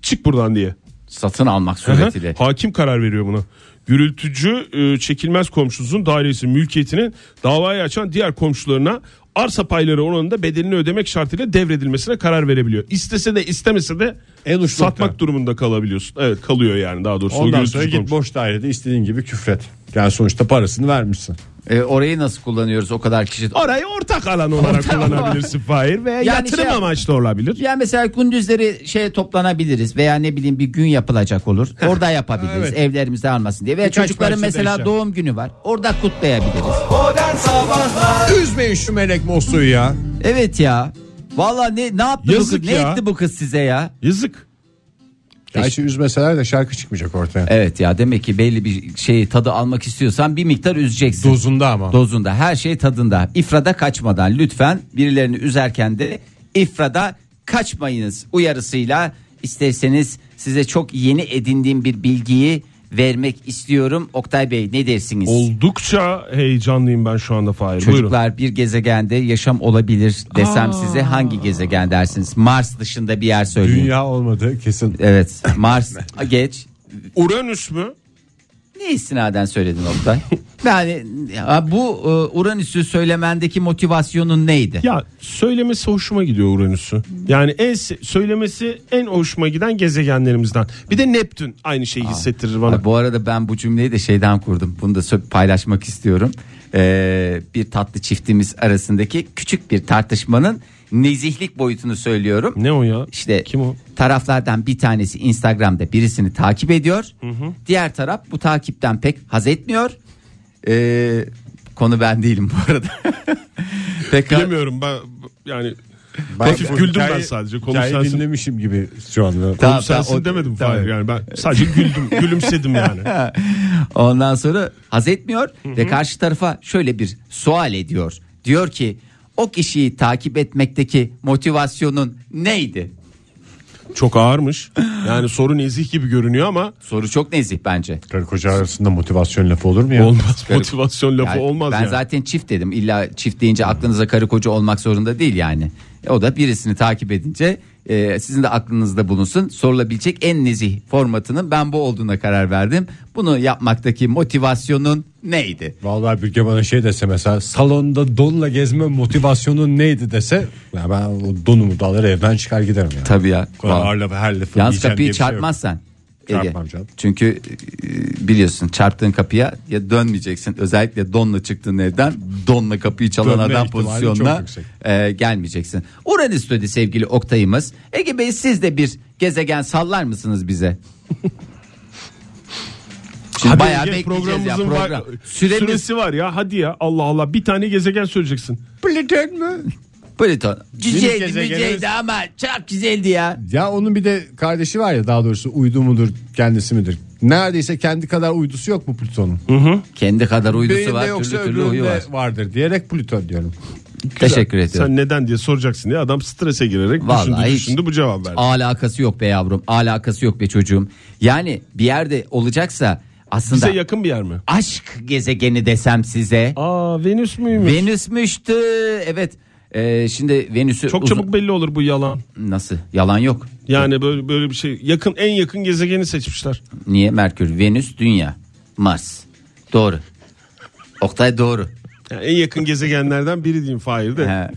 [SPEAKER 4] Çık buradan diye.
[SPEAKER 3] Satın almak
[SPEAKER 4] Hı hı.
[SPEAKER 3] suretiyle.
[SPEAKER 4] Hakim karar veriyor buna. Gürültücü e, çekilmez komşusunun dairesi mülkiyetinin davayı açan diğer komşularına arsa payları oranında bedelini ödemek şartıyla devredilmesine karar verebiliyor. İstese de istemese de
[SPEAKER 2] En uç nokta.
[SPEAKER 4] satmak durumunda kalabiliyorsun. Evet kalıyor yani daha doğrusu. o
[SPEAKER 2] Ondan
[SPEAKER 4] gürültücü
[SPEAKER 2] sonra git
[SPEAKER 4] komşu.
[SPEAKER 2] boş dairede istediğin gibi küfret. Yani sonuçta parasını vermişsin.
[SPEAKER 3] E, orayı nasıl kullanıyoruz o kadar kişi?
[SPEAKER 4] Orayı ortak alan olarak kullanabilirsin Fahir veya yatırım
[SPEAKER 3] şey-
[SPEAKER 4] amaçlı olabilir.
[SPEAKER 3] Yani mesela gündüzleri şey toplanabiliriz veya ne bileyim bir gün yapılacak olur. Orada yapabiliriz. Evlerimizde almasın diye. Veya
[SPEAKER 2] Birkaç
[SPEAKER 3] çocukların
[SPEAKER 2] parça
[SPEAKER 3] mesela
[SPEAKER 2] değişen.
[SPEAKER 3] doğum günü var. Orada kutlayabiliriz.
[SPEAKER 7] Modern Sabahlar
[SPEAKER 2] Üzmeyin şu melek Mosu'yu ya.
[SPEAKER 3] Evet ya. Valla ne ne yaptı bu
[SPEAKER 4] Yazık
[SPEAKER 3] kız? Ne
[SPEAKER 4] ya.
[SPEAKER 3] etti bu kız size ya?
[SPEAKER 4] Yazık.
[SPEAKER 2] Gerçi üzmeseler de şarkı çıkmayacak ortaya.
[SPEAKER 3] Evet ya demek ki belli bir şeyi tadı almak istiyorsan bir miktar üzeceksin.
[SPEAKER 2] Dozunda ama.
[SPEAKER 3] Dozunda her şey tadında. İfrada kaçmadan lütfen birilerini üzerken de ifrada kaçmayınız uyarısıyla isterseniz size çok yeni edindiğim bir bilgiyi vermek istiyorum. Oktay Bey ne dersiniz?
[SPEAKER 4] Oldukça heyecanlıyım ben şu anda Fahir. Buyurun.
[SPEAKER 3] Çocuklar bir gezegende yaşam olabilir desem size hangi gezegen dersiniz? Mars dışında bir yer söyleyin.
[SPEAKER 2] Dünya olmadı kesin.
[SPEAKER 3] Evet Mars geç.
[SPEAKER 4] Uranüs mü?
[SPEAKER 3] Ne istinaden söyledin Oktay? yani ya bu e, Uranüs'ü söylemendeki motivasyonun neydi?
[SPEAKER 4] Ya söylemesi hoşuma gidiyor Uranüs'ü. Yani en se- söylemesi en hoşuma giden gezegenlerimizden. Bir de Neptün aynı şeyi hissettirir bana.
[SPEAKER 3] Ay, Bu arada ben bu cümleyi de şeyden kurdum. Bunu da sö- paylaşmak istiyorum. Ee, bir tatlı çiftimiz arasındaki küçük bir tartışmanın nezihlik boyutunu söylüyorum.
[SPEAKER 4] Ne o ya?
[SPEAKER 3] İşte
[SPEAKER 4] Kim o?
[SPEAKER 3] taraflardan bir tanesi Instagram'da birisini takip ediyor. Diğer taraf bu takipten pek haz etmiyor. Ee, konu ben değilim bu arada. pek
[SPEAKER 4] Bilemiyorum ben yani hafif güldüm ben sadece. Konu
[SPEAKER 2] hikayeyi
[SPEAKER 4] sensin.
[SPEAKER 2] dinlemişim gibi şu anda.
[SPEAKER 3] Tamam,
[SPEAKER 4] Konu sensin
[SPEAKER 3] tamam, o-
[SPEAKER 4] demedim
[SPEAKER 2] tamam.
[SPEAKER 4] Fahir yani ben sadece güldüm gülümsedim yani.
[SPEAKER 3] Ondan sonra haz etmiyor ve karşı tarafa şöyle bir sual ediyor. Diyor ki o kişiyi takip etmekteki motivasyonun neydi?
[SPEAKER 4] Çok ağırmış. Yani soru nezih gibi görünüyor ama
[SPEAKER 3] Soru çok nezih bence.
[SPEAKER 2] Karı koca arasında motivasyon lafı olur mu ya?
[SPEAKER 4] olmaz motivasyon lafı
[SPEAKER 3] Yani
[SPEAKER 4] olmaz
[SPEAKER 3] ben
[SPEAKER 4] yani.
[SPEAKER 3] zaten çift dedim. İlla çift deyince aklınıza karı koca olmak zorunda değil yani. E, O da birisini takip edince e, sizin de aklınızda bulunsun. Sorulabilecek en nezih formatının ben bu olduğuna karar verdim. Bunu yapmaktaki motivasyonun neydi?
[SPEAKER 2] Vallahi Bülge bana şey dese mesela salonda donla gezme motivasyonun neydi dese ya ben o donumu da alır evden çıkar giderim ya.
[SPEAKER 3] Tabii ya.
[SPEAKER 2] Bu kadar ağır lafı, her lafı
[SPEAKER 3] Yalnız
[SPEAKER 2] yiyeceğim diye
[SPEAKER 3] kapıyı
[SPEAKER 2] bir şey yok.
[SPEAKER 3] çarpmazsan. Ege.
[SPEAKER 2] Çarpmam canım.
[SPEAKER 3] Çünkü e, biliyorsun çarptığın kapıya ya dönmeyeceksin. Özellikle donla çıktığın evden donla kapıyı çalan
[SPEAKER 2] Dönme
[SPEAKER 3] adam
[SPEAKER 2] ihtimali çok
[SPEAKER 3] pozisyonuna
[SPEAKER 2] yüksek.
[SPEAKER 3] e, gelmeyeceksin. Uranüs dedi sevgili Oktay'ımız. Ege Bey siz de bir gezegen sallar mısınız bize? Şimdi
[SPEAKER 4] Hadi
[SPEAKER 3] bayağı
[SPEAKER 4] Ege,
[SPEAKER 3] bekleyeceğiz ya
[SPEAKER 4] programımızın
[SPEAKER 3] program.
[SPEAKER 4] var-
[SPEAKER 3] Süremiz
[SPEAKER 4] süresi var ya hadi ya Allah Allah bir tane gezegen söyleyeceksin.
[SPEAKER 3] Plüton. Güzeldi
[SPEAKER 2] gezegenimiz-
[SPEAKER 3] güzeldi ama çok güzeldi ya.
[SPEAKER 2] Ya onun bir de kardeşi var ya daha doğrusu uydu mudur kendisi midir Neredeyse kendi kadar uydusu yok mu Plüton'un?
[SPEAKER 3] Kendi kadar uydusu
[SPEAKER 2] Beyinde
[SPEAKER 3] var
[SPEAKER 2] yoksa
[SPEAKER 3] türlü türlü uyu
[SPEAKER 2] öbüründe
[SPEAKER 3] var.
[SPEAKER 2] vardır diyerek Plüton diyorum.
[SPEAKER 3] Teşekkür ediyorum.
[SPEAKER 4] Sen neden diye soracaksın diye adam strese girerek
[SPEAKER 3] Vallahi
[SPEAKER 4] düşündü
[SPEAKER 3] hiç-
[SPEAKER 4] düşündü bu cevap verdi.
[SPEAKER 3] Alakası yok be yavrum alakası yok be çocuğum. Yani bir yerde olacaksa aslında
[SPEAKER 4] Bize yakın bir yer mi?
[SPEAKER 3] aşk gezegeni desem size.
[SPEAKER 4] Aa Venüs müymüş?
[SPEAKER 3] Venüs'müştü evet. Ee, şimdi Venüs'ü
[SPEAKER 4] Çok
[SPEAKER 3] uzun-
[SPEAKER 4] çabuk belli olur bu yalan.
[SPEAKER 3] nasıl yalan yok.
[SPEAKER 4] Yani böyle böyle bir şey yakın en yakın gezegeni seçmişler.
[SPEAKER 3] Niye Merkür Venüs Dünya Mars doğru. Oktay doğru.
[SPEAKER 4] Yani en yakın gezegenlerden biri diyeyim Fahir de.
[SPEAKER 3] He.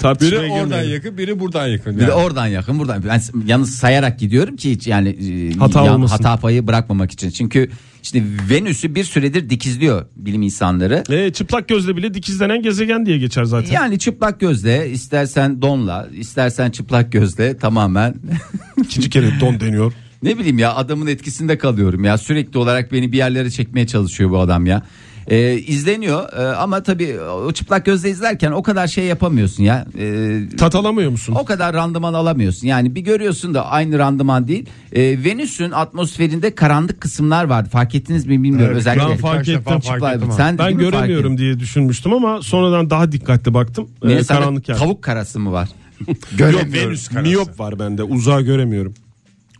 [SPEAKER 4] Tartışmaya
[SPEAKER 2] Biri oradan
[SPEAKER 4] girmeyelim.
[SPEAKER 2] yakın biri buradan yakın.
[SPEAKER 3] Bir de
[SPEAKER 2] yani.
[SPEAKER 3] oradan yakın buradan. Ben yalnız sayarak gidiyorum ki hiç yani e,
[SPEAKER 4] Hata olmasın.
[SPEAKER 3] hata payı bırakmamak için. Çünkü şimdi Venüs'ü bir süredir dikizliyor bilim insanları.
[SPEAKER 4] E, çıplak gözle bile dikizlenen gezegen diye geçer zaten.
[SPEAKER 3] Yani çıplak gözle istersen donla istersen çıplak gözle tamamen
[SPEAKER 4] İkinci kere don deniyor.
[SPEAKER 3] ne bileyim ya adamın etkisinde kalıyorum ya sürekli olarak beni bir yerlere çekmeye çalışıyor bu adam ya. Ee, izleniyor Ee, ama tabii o çıplak gözle izlerken o kadar şey yapamıyorsun ya. Ee,
[SPEAKER 4] Tat alamıyor musun?
[SPEAKER 3] O kadar randıman alamıyorsun. Yani bir görüyorsun da aynı randıman değil. Ee, Venüs'ün atmosferinde karanlık kısımlar vardı. Fark ettiniz mi bilmiyorum özellikle.
[SPEAKER 4] ben fark
[SPEAKER 2] Birkaç defa
[SPEAKER 4] ettim.
[SPEAKER 2] fark
[SPEAKER 3] Çıplak-
[SPEAKER 2] ettim ha.
[SPEAKER 3] Sen de
[SPEAKER 4] Ben
[SPEAKER 3] değil mi fark
[SPEAKER 4] göremiyorum
[SPEAKER 3] ettin?
[SPEAKER 4] diye düşünmüştüm ama sonradan daha dikkatli baktım. Ee,
[SPEAKER 3] Niye sende
[SPEAKER 4] karanlık yer.
[SPEAKER 3] Tavuk karası mı var?
[SPEAKER 4] Yok,
[SPEAKER 2] Göremiyorum.
[SPEAKER 4] Venüs karası. Miyop var bende. Uzağa göremiyorum.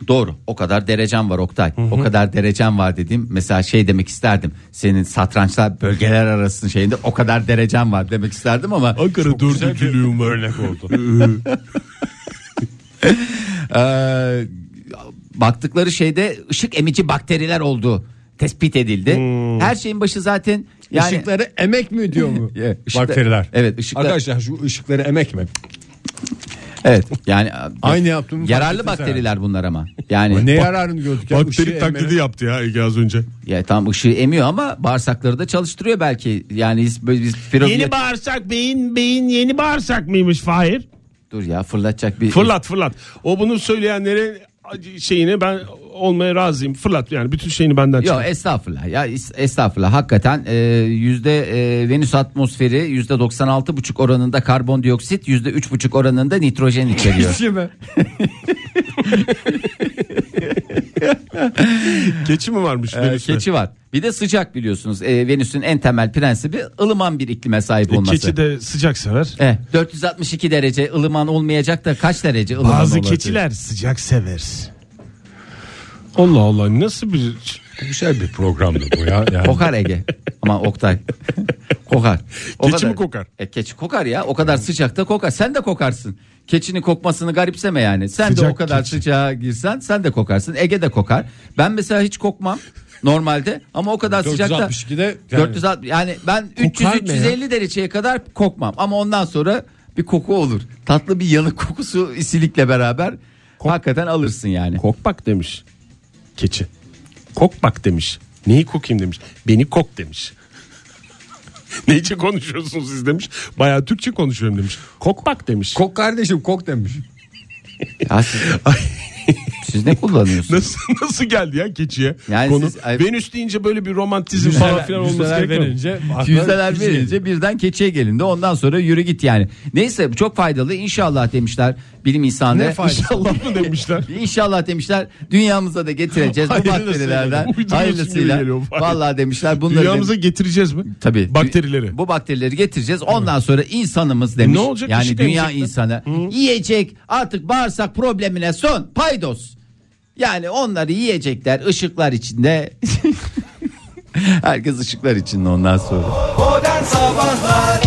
[SPEAKER 3] Doğru. O kadar derecem var Oktay. O kadar derecem var dediğim mesela şey demek isterdim. Senin satrançlar bölgeler arasının şeyinde o kadar derecem var demek isterdim ama
[SPEAKER 4] Ankara dördüncülüğüm var. Örnek oldu.
[SPEAKER 3] Ee, baktıkları şeyde ışık emici bakteriler olduğu tespit edildi. Her şeyin başı zaten yani
[SPEAKER 2] Işıkları emek mi diyor mu?
[SPEAKER 3] Evet, ışıklar-
[SPEAKER 2] Bakteriler.
[SPEAKER 3] Evet, ışıklar-
[SPEAKER 2] Arkadaşlar şu ışıkları emek mi?
[SPEAKER 3] evet yani e,
[SPEAKER 2] Aynı yaptığımı fark
[SPEAKER 3] yararlı
[SPEAKER 2] ettiniz
[SPEAKER 3] bakteriler bunlar ama. Yani
[SPEAKER 2] Ne yararını gördük? ya? Işığı
[SPEAKER 4] Bakteri
[SPEAKER 2] emmenin-
[SPEAKER 4] taklidi yaptı ya Ege az önce.
[SPEAKER 3] ya tam ışığı emiyor ama bağırsakları da çalıştırıyor belki. Yani biz, biz piromiyet-
[SPEAKER 4] Yeni bağırsak beyin beyin yeni bağırsak mıymış Fahir?
[SPEAKER 3] Dur ya fırlatacak bir
[SPEAKER 4] Fırlat fırlat. O bunu söyleyenlere şeyini ben olmaya razıyım. Fırlat yani bütün şeyini benden
[SPEAKER 3] Yok
[SPEAKER 4] çıkar.
[SPEAKER 3] estağfurullah ya es- estağfurullah hakikaten e, yüzde e, Venüs atmosferi yüzde 96 buçuk oranında karbondioksit yüzde üç buçuk oranında nitrojen içeriyor.
[SPEAKER 4] Keçi mi varmış
[SPEAKER 3] Ee,
[SPEAKER 4] Venüs'te?
[SPEAKER 3] keçi var. Bir de sıcak biliyorsunuz. Ee, Venüs'ün en temel prensibi ılıman bir iklime sahip
[SPEAKER 4] E,
[SPEAKER 3] olması.
[SPEAKER 4] Keçi de sıcak sever.
[SPEAKER 3] Eh, 462 derece ılıman olmayacak da kaç derece ılıman
[SPEAKER 4] Bazı
[SPEAKER 3] olacak?
[SPEAKER 4] keçiler sıcak sever. Allah Allah nasıl bir
[SPEAKER 2] Güzel bir programdı bu ya. Yani.
[SPEAKER 3] Kokar Ege. Ama Oktay. kokar. O
[SPEAKER 4] Keçi mi kokar?
[SPEAKER 3] E, keçi kokar ya. O kadar sıcakta kokar. Sen de kokarsın. Keçinin kokmasını garipseme yani. Sen de
[SPEAKER 4] Sıcak
[SPEAKER 3] o kadar sıcağa girsen sen de kokarsın. Ege de kokar. Ben mesela hiç kokmam normalde ama o kadar sıcakta
[SPEAKER 2] 462'de yani-
[SPEAKER 3] 460 yani ben
[SPEAKER 2] Kokar mı
[SPEAKER 3] 300 350 dereceye kadar kokmam ama ondan sonra bir koku olur. Tatlı bir yanık kokusu isilikle beraber hakikaten alırsın yani.
[SPEAKER 4] kokbak demiş keçi. Kokbak demiş. Neyi kokayım demiş. Beni kok demiş. ne için konuşuyorsunuz siz demiş. Bayağı Türkçe konuşuyorum demiş. Kokbak demiş.
[SPEAKER 2] Kok kardeşim kok demiş.
[SPEAKER 3] Ya siz, siz ne kullanıyorsunuz?
[SPEAKER 4] Nasıl nasıl geldi ya keçiye?
[SPEAKER 3] Yani
[SPEAKER 4] Konu.
[SPEAKER 3] siz- ay-
[SPEAKER 4] Venüs deyince böyle bir romantizm falan filan olması
[SPEAKER 2] Yüzdeler
[SPEAKER 4] gerekiyor. mu?
[SPEAKER 2] verince akla-
[SPEAKER 4] şey
[SPEAKER 3] Yüzdeler verince birden keçiye gelindi. Ondan sonra yürü git yani. Neyse bu çok faydalı. İnşallah demişler bilim insanı.
[SPEAKER 2] Ne faydası?
[SPEAKER 4] İnşallah mı demişler?
[SPEAKER 3] İnşallah demişler dünyamıza da getireceğiz bu
[SPEAKER 4] Hayırlısıyla.
[SPEAKER 3] bakterilerden.
[SPEAKER 4] Uyduruyorsun gibi
[SPEAKER 3] Hayırlısıyla.
[SPEAKER 4] geliyor bana.
[SPEAKER 3] Vallahi demişler bunları
[SPEAKER 4] Dünyamıza getireceğiz mi?
[SPEAKER 3] Tabii.
[SPEAKER 4] Bakterileri.
[SPEAKER 3] Bu bakterileri getireceğiz. Ondan sonra insanımız demiş.
[SPEAKER 4] Ne olacak?
[SPEAKER 3] Yani
[SPEAKER 4] Işık
[SPEAKER 3] dünya
[SPEAKER 4] emecek mi?
[SPEAKER 3] insanı yiyecek. Artık bağırsak problemine son. Paydos. Yani onları yiyecekler ışıklar içinde. Herkes ışıklar içinde ondan sonra.
[SPEAKER 7] Modern Sabahlar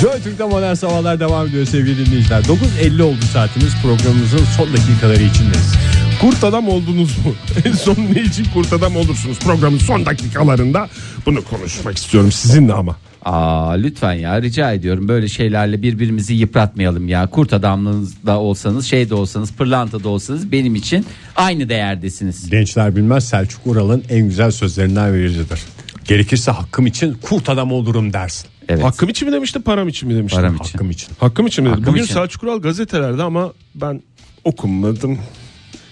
[SPEAKER 2] Joy Türk'te modern sabahlar devam ediyor sevgili dinleyiciler. 9.50 oldu saatimiz programımızın son dakikaları içindeyiz.
[SPEAKER 4] Kurt adam oldunuz mu? En son ne için kurt adam olursunuz? Programın son dakikalarında bunu konuşmak istiyorum sizinle ama.
[SPEAKER 3] Aa lütfen ya rica ediyorum böyle şeylerle birbirimizi yıpratmayalım ya. Kurt adamlığınız da olsanız şey de olsanız pırlanta da olsanız benim için aynı değerdesiniz.
[SPEAKER 2] Gençler bilmez Selçuk Ural'ın en güzel sözlerinden birisidir. Gerekirse hakkım için kurt adam olurum dersin.
[SPEAKER 3] Evet.
[SPEAKER 4] Hakkım için mi demişti param için mi demişti?
[SPEAKER 3] Param için.
[SPEAKER 2] Hakkım için.
[SPEAKER 4] Hakkım için mi dedi?
[SPEAKER 3] Hakkım
[SPEAKER 4] Bugün
[SPEAKER 3] için.
[SPEAKER 4] Selçuk Ural gazetelerde ama ben okumadım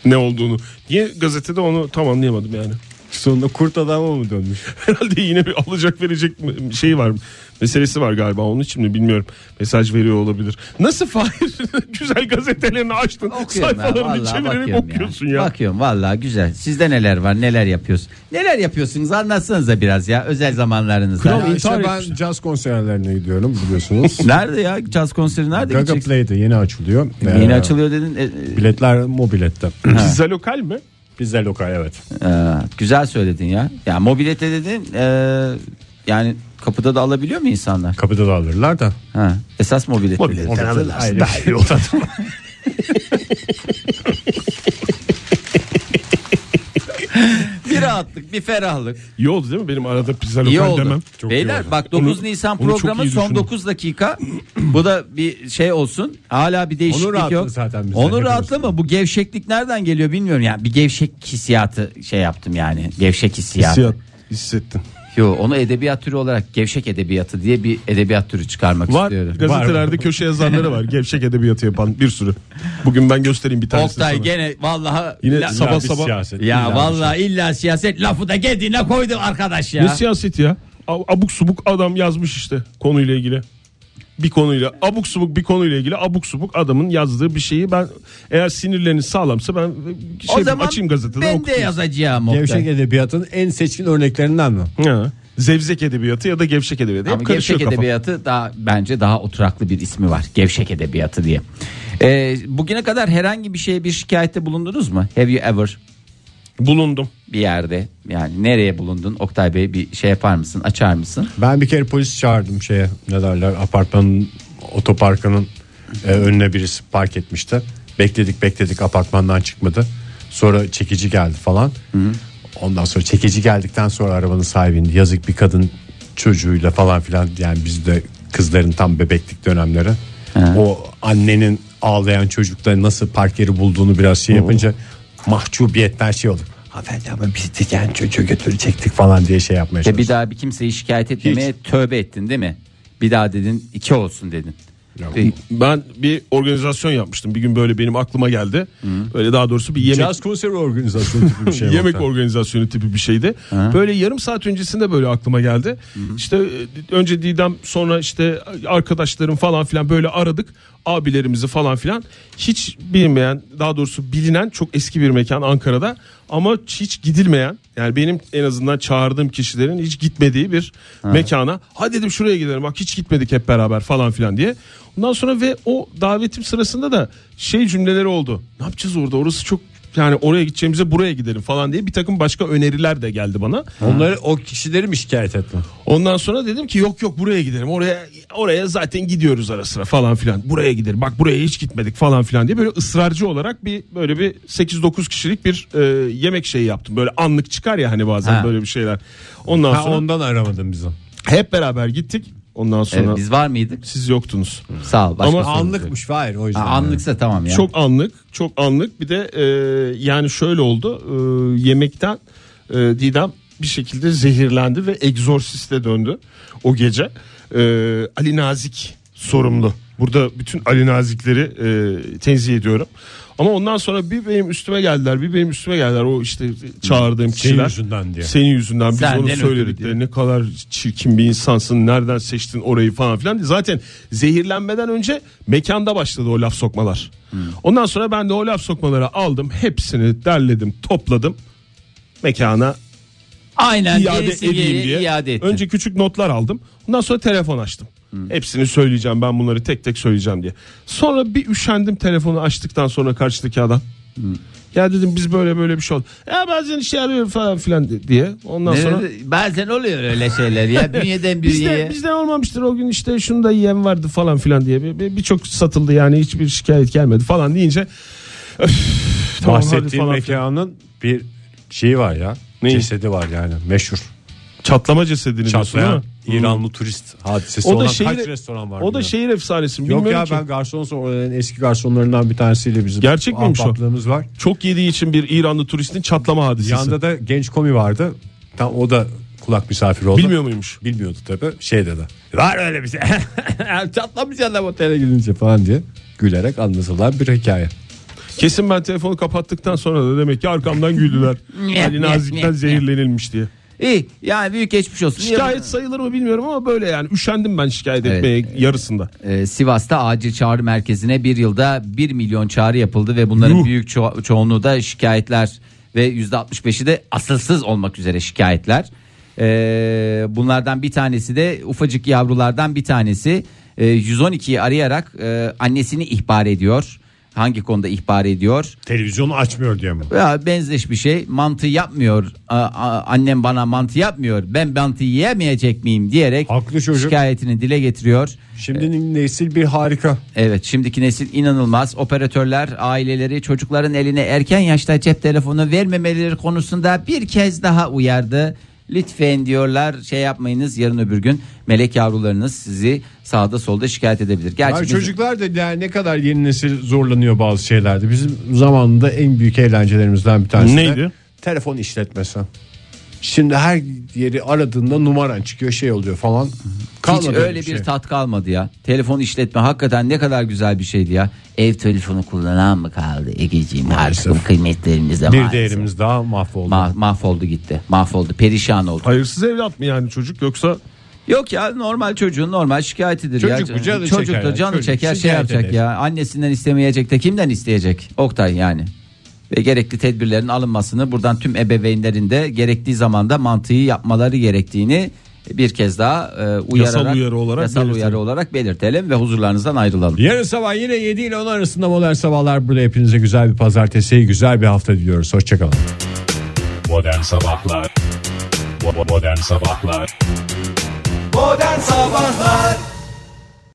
[SPEAKER 4] ne olduğunu. Niye gazetede onu tam anlayamadım yani.
[SPEAKER 2] Sonunda kurt adama mı dönmüş?
[SPEAKER 4] Herhalde yine bir alacak verecek mi- şey var. Meselesi var galiba onun için mi bilmiyorum. Mesaj veriyor olabilir. Nasıl Fahir güzel gazetelerini açtın.
[SPEAKER 3] Okuyorum ya,
[SPEAKER 4] sayfalarını
[SPEAKER 3] vallahi
[SPEAKER 4] çevirerek
[SPEAKER 3] bakıyorum
[SPEAKER 4] okuyorsun ya.
[SPEAKER 3] Bakıyorum vallahi güzel. Sizde neler var neler yapıyorsun? Neler yapıyorsunuz anlatsanıza biraz ya özel zamanlarınızda.
[SPEAKER 2] Ya işte ben caz konserlerine gidiyorum biliyorsunuz.
[SPEAKER 3] Nerede ya caz konseri nerede
[SPEAKER 2] Gaga
[SPEAKER 3] gideceksin?
[SPEAKER 2] Play'de yeni açılıyor.
[SPEAKER 3] Yeni
[SPEAKER 2] Ee,
[SPEAKER 3] açılıyor dedin. E, e,
[SPEAKER 2] Biletler mobilette.
[SPEAKER 4] Pizza lokal mi?
[SPEAKER 2] Bizde lokal evet.
[SPEAKER 3] Ee, güzel söyledin ya. Ya mobilete dedin. e, yani kapıda da alabiliyor mu insanlar?
[SPEAKER 2] Kapıda da alırlar da.
[SPEAKER 3] Ha, esas mobilete.
[SPEAKER 2] Orada da şey. ayrı.
[SPEAKER 3] Bir rahatlık, bir ferahlık.
[SPEAKER 4] İyi oldu değil mi benim arada pizza
[SPEAKER 3] İyi
[SPEAKER 4] lokal
[SPEAKER 3] oldu.
[SPEAKER 4] demem.
[SPEAKER 3] Beyler bak 9 Nisan
[SPEAKER 4] onu çok
[SPEAKER 3] programı
[SPEAKER 4] iyi
[SPEAKER 3] son
[SPEAKER 4] düşündüm.
[SPEAKER 3] 9 dakika. Bu da bir şey olsun. Hala bir değişiklik
[SPEAKER 2] Onun rahatlığı
[SPEAKER 3] yok.
[SPEAKER 2] zaten bizde,
[SPEAKER 3] Onun
[SPEAKER 2] hepimiz.
[SPEAKER 3] rahatlığı mı? Bu gevşeklik nereden geliyor bilmiyorum. Yani bir gevşek hissiyatı şey yaptım yani. Gevşek hissiyatı.
[SPEAKER 4] Hissiyat hissettin.
[SPEAKER 3] Yo, onu edebiyat türü olarak gevşek edebiyatı diye bir edebiyat türü çıkarmak
[SPEAKER 4] Var
[SPEAKER 3] istiyorum.
[SPEAKER 4] gazetelerde köşe yazarları var. Gevşek edebiyatı yapan bir sürü. Bugün ben göstereyim bir tanesini
[SPEAKER 3] Oktay
[SPEAKER 4] sana.
[SPEAKER 3] gene vallahi
[SPEAKER 4] Yine
[SPEAKER 3] la-
[SPEAKER 4] sabah
[SPEAKER 2] bir
[SPEAKER 4] sabah.
[SPEAKER 2] siyaset.
[SPEAKER 3] Ya
[SPEAKER 2] İlla
[SPEAKER 3] vallahi illa siyaset lafı da kendine koydu arkadaş ya.
[SPEAKER 4] Ne siyaset ya? A- Abuk subuk adam yazmış işte konuyla ilgili. Bir konuyla abuk subuk bir konuyla ilgili abuk subuk adamın yazdığı bir şeyi ben eğer sinirleriniz sağlamsa ben şey
[SPEAKER 3] o zaman
[SPEAKER 4] açayım gazeteden
[SPEAKER 3] ben de
[SPEAKER 4] okuyayım.
[SPEAKER 3] yazacağım Oktay.
[SPEAKER 2] Gevşek edebiyatın en seçkin örneklerinden mi?
[SPEAKER 4] Ha. Zevzek edebiyatı ya da gevşek edebiyatı.
[SPEAKER 3] Ama
[SPEAKER 4] Hep karışıyor
[SPEAKER 3] gevşek
[SPEAKER 4] kafam.
[SPEAKER 3] edebiyatı daha bence daha oturaklı bir ismi var. Gevşek edebiyatı diye. Ee, bugüne kadar herhangi bir şeye bir şikayette bulundunuz mu? Have you ever
[SPEAKER 4] Bulundum.
[SPEAKER 3] bir yerde yani nereye bulundun? Oktay Bey bir şey yapar mısın? Açar mısın?
[SPEAKER 2] Ben bir kere polis çağırdım şeye ne derler apartmanın otoparkının e, önüne birisi park etmişti. Bekledik bekledik apartmandan çıkmadı. Sonra çekici geldi falan. Ondan sonra çekici geldikten sonra arabanın sahibinin yazık bir kadın çocuğuyla falan filan yani bizde kızların tam bebeklik dönemleri. O annenin ağlayan çocukta nasıl park yeri bulduğunu biraz şey yapınca mahcubiyetten şey oldu. Hanımefendi ama biz de yani çocuğu götürecektik falan diye şey yapmaya
[SPEAKER 3] Ve
[SPEAKER 2] çalıştım.
[SPEAKER 3] bir daha bir kimseyi şikayet etmemeye tövbe ettin değil mi? Bir daha dedin iki olsun dedin. Ee,
[SPEAKER 4] Ben bir organizasyon yapmıştım. Bir gün böyle benim aklıma geldi. Böyle daha doğrusu bir yemek
[SPEAKER 2] Caz konseri organizasyonu gibi bir şey.
[SPEAKER 4] yemek
[SPEAKER 2] orada.
[SPEAKER 4] organizasyonu tipi bir şeydi. Böyle yarım saat öncesinde böyle aklıma geldi. İşte e, önce Didem sonra işte arkadaşlarım falan filan böyle aradık. Abilerimizi falan filan. Hiç bilmeyen daha doğrusu bilinen çok eski bir mekan Ankara'da ama hiç gidilmeyen yani benim en azından çağırdığım kişilerin hiç gitmediği bir mekana. Hadi dedim şuraya gidelim bak hiç gitmedik hep beraber falan filan diye. Ondan sonra ve o davetim sırasında da şey cümleleri oldu. Ne yapacağız orada orası çok yani oraya gideceğimize buraya gidelim falan diye bir takım başka öneriler de geldi bana.
[SPEAKER 2] Onları o kişileri mi şikayet etme?
[SPEAKER 4] Ondan sonra dedim ki yok yok buraya gidelim. Oraya oraya zaten gidiyoruz ara sıra falan filan. Buraya gidelim. Bak buraya hiç gitmedik falan filan diye böyle ısrarcı olarak bir böyle bir 8-9 kişilik bir e, yemek şeyi yaptım. Böyle anlık çıkar ya hani bazen
[SPEAKER 3] Ha.
[SPEAKER 4] böyle bir şeyler. Ondan
[SPEAKER 2] Ha,
[SPEAKER 4] sonra
[SPEAKER 2] ondan aramadın bizi.
[SPEAKER 4] hep beraber gittik. Ondan
[SPEAKER 3] evet,
[SPEAKER 4] sonra
[SPEAKER 3] biz var mıydık?
[SPEAKER 4] siz yoktunuz.
[SPEAKER 3] Sağ ol. başkası
[SPEAKER 4] Ama
[SPEAKER 3] oldu.
[SPEAKER 2] Anlıkmış hayır o yüzden.
[SPEAKER 3] Ha, anlıksa tamam ya.
[SPEAKER 4] Çok anlık, çok anlık. Bir de e, yani şöyle oldu. E, yemekten e, Didem bir şekilde zehirlendi ve egzorsiste döndü o gece. E, Ali Nazik sorumlu. Burada bütün Ali Nazikleri e, tenzih ediyorum. Ama ondan sonra bir benim üstüme geldiler, bir benim üstüme geldiler. O işte çağırdığım kişiler.
[SPEAKER 2] yüzünden diye.
[SPEAKER 4] Senin yüzünden biz
[SPEAKER 3] Senden
[SPEAKER 4] onu
[SPEAKER 3] ötürü
[SPEAKER 4] söyledik de
[SPEAKER 3] diye.
[SPEAKER 4] ne kadar çirkin bir insansın nereden seçtin orayı falan filan. Zaten zehirlenmeden önce mekanda başladı o laf sokmalar.
[SPEAKER 3] Hmm.
[SPEAKER 4] Ondan sonra ben de o laf sokmaları aldım hepsini derledim topladım mekana
[SPEAKER 3] Aynen
[SPEAKER 4] iade
[SPEAKER 3] gerisi
[SPEAKER 4] edeyim
[SPEAKER 3] geri
[SPEAKER 4] diye.
[SPEAKER 3] iade Hmm. ettin.
[SPEAKER 4] Önce küçük notlar aldım. Ondan sonra telefon açtım. Hepsini söyleyeceğim ben bunları tek tek söyleyeceğim diye. Sonra bir üşendim telefonu açtıktan sonra karşıdaki adam.
[SPEAKER 3] Hmm.
[SPEAKER 4] Ya dedim biz böyle böyle bir şey oldu. Ya bazen işe yarıyor falan filan de- diye. Ondan
[SPEAKER 3] Ne-
[SPEAKER 4] sonra
[SPEAKER 3] Bazen oluyor öyle şeyler ya. Bünyeden bünyeye.
[SPEAKER 4] bizden, bizden olmamıştır o gün işte şunu da yiyen vardı falan filan diye. Bir- bir- Birçok satıldı yani hiçbir şikayet gelmedi falan deyince. öf, tamam hadi
[SPEAKER 2] Bahsettiğim
[SPEAKER 4] falan filan.
[SPEAKER 2] mekanın bir şeyi var ya. Cesedi var yani meşhur.
[SPEAKER 4] Çatlama cesedini diyorsun
[SPEAKER 2] Çatlayan
[SPEAKER 4] değil mi?
[SPEAKER 2] İranlı turist hadisesi
[SPEAKER 4] O da
[SPEAKER 2] olan
[SPEAKER 4] şehir-
[SPEAKER 2] kaç restoran var?
[SPEAKER 4] O da
[SPEAKER 2] bilmiyorum.
[SPEAKER 4] şehir efsanesi mi?
[SPEAKER 2] Yok
[SPEAKER 4] Bilmiyorum
[SPEAKER 2] ya
[SPEAKER 4] ki.
[SPEAKER 2] ben garson oraların eski garsonlarından bir tanesiyle bizim
[SPEAKER 4] Gerçek miymiş o?
[SPEAKER 2] ahbaplığımız var.
[SPEAKER 4] Çok yediği için bir İranlı turistin çatlama hadisesi.
[SPEAKER 2] Yanda da genç komi vardı. Tam o da kulak misafiri oldu.
[SPEAKER 4] Bilmiyor muymuş?
[SPEAKER 2] Bilmiyordu tabi şey dedi. Var öyle bir şey. Çatlamış adam otele gidince falan diye gülerek anlatılan bir hikaye.
[SPEAKER 4] Kesin ben telefonu kapattıktan sonra da demek ki arkamdan güldüler. Ali Nazik'ten zehirlenilmiş diye.
[SPEAKER 3] İyi yani büyük geçmiş olsun.
[SPEAKER 4] Şikayet sayılır mı bilmiyorum ama böyle yani üşendim ben şikayet
[SPEAKER 3] Evet.
[SPEAKER 4] etmeye yarısında.
[SPEAKER 3] Ee, Sivas'ta acil çağrı merkezine bir yılda 1 milyon çağrı yapıldı ve bunların
[SPEAKER 4] Yuh.
[SPEAKER 3] büyük ço- çoğunluğu da şikayetler ve %65'i de asılsız olmak üzere şikayetler. Ee, bunlardan bir tanesi de ufacık yavrulardan bir tanesi e, 112'yi arayarak e, annesini ihbar ediyor. Hangi konuda ihbar ediyor?
[SPEAKER 2] Televizyonu açmıyor diye mi?
[SPEAKER 3] Ya benzeş bir şey mantı yapmıyor. A- a- annem bana mantı yapmıyor. Ben mantı yiyemeyecek miyim diyerek
[SPEAKER 2] Haklı çocuk.
[SPEAKER 3] şikayetini dile getiriyor.
[SPEAKER 2] Şimdinin nesil bir harika.
[SPEAKER 3] Evet şimdiki nesil inanılmaz. Operatörler aileleri çocukların eline erken yaşta cep telefonu vermemeleri konusunda bir kez daha uyardı. Lütfen diyorlar şey yapmayınız yarın öbür gün melek yavrularınız sizi sağda solda şikayet edebilir. Gerçi
[SPEAKER 2] Abi
[SPEAKER 3] biz-
[SPEAKER 2] çocuklar da yani ne kadar yeni nesil zorlanıyor bazı şeylerde. Bizim zamanında en büyük eğlencelerimizden bir tanesi de
[SPEAKER 4] Neydi?
[SPEAKER 2] telefon işletmesi. Şimdi her yeri aradığında numaran çıkıyor şey oluyor falan.
[SPEAKER 3] hiç
[SPEAKER 2] Kalmadı
[SPEAKER 3] öyle bir
[SPEAKER 2] şey.
[SPEAKER 3] tat kalmadı ya. Telefon işletme hakikaten ne kadar güzel bir şeydi ya. Ev telefonu kullanan mı kaldı Egeciğim? Artık bu kıymetlerimiz de
[SPEAKER 2] bir
[SPEAKER 3] maalesef.
[SPEAKER 2] değerimiz daha mahvoldu.
[SPEAKER 3] Ma- mahvoldu gitti. Mahvoldu. Perişan oldu.
[SPEAKER 4] Hayırsız evlat mı yani çocuk yoksa
[SPEAKER 3] Yok ya normal çocuğun normal şikayetidir
[SPEAKER 2] Çocuk
[SPEAKER 3] ya.
[SPEAKER 2] bu, canı
[SPEAKER 3] Çocuk
[SPEAKER 2] çeker
[SPEAKER 3] da
[SPEAKER 2] ya.
[SPEAKER 3] canı
[SPEAKER 2] Çocuk
[SPEAKER 3] çeker şey
[SPEAKER 2] şikayet
[SPEAKER 3] yapacak
[SPEAKER 2] eder.
[SPEAKER 3] ya. Annesinden istemeyecek de kimden isteyecek? Oktay yani. Ve gerekli tedbirlerin alınmasını buradan tüm ebeveynlerin de gerektiği zamanda mantığı yapmaları gerektiğini bir kez daha e, uyararak
[SPEAKER 4] uyarı olarak
[SPEAKER 3] yasal
[SPEAKER 4] belirtelim.
[SPEAKER 3] uyarı olarak belirtelim ve huzurlarınızdan ayrılalım.
[SPEAKER 2] Yarın sabah yine 7 ile 10 arasında modern sabahlar burada hepinize güzel bir pazartesi, güzel bir hafta diliyoruz. Hoşçakalın.
[SPEAKER 8] Modern Sabahlar Bo- Modern Sabahlar
[SPEAKER 7] Modern Sabahlar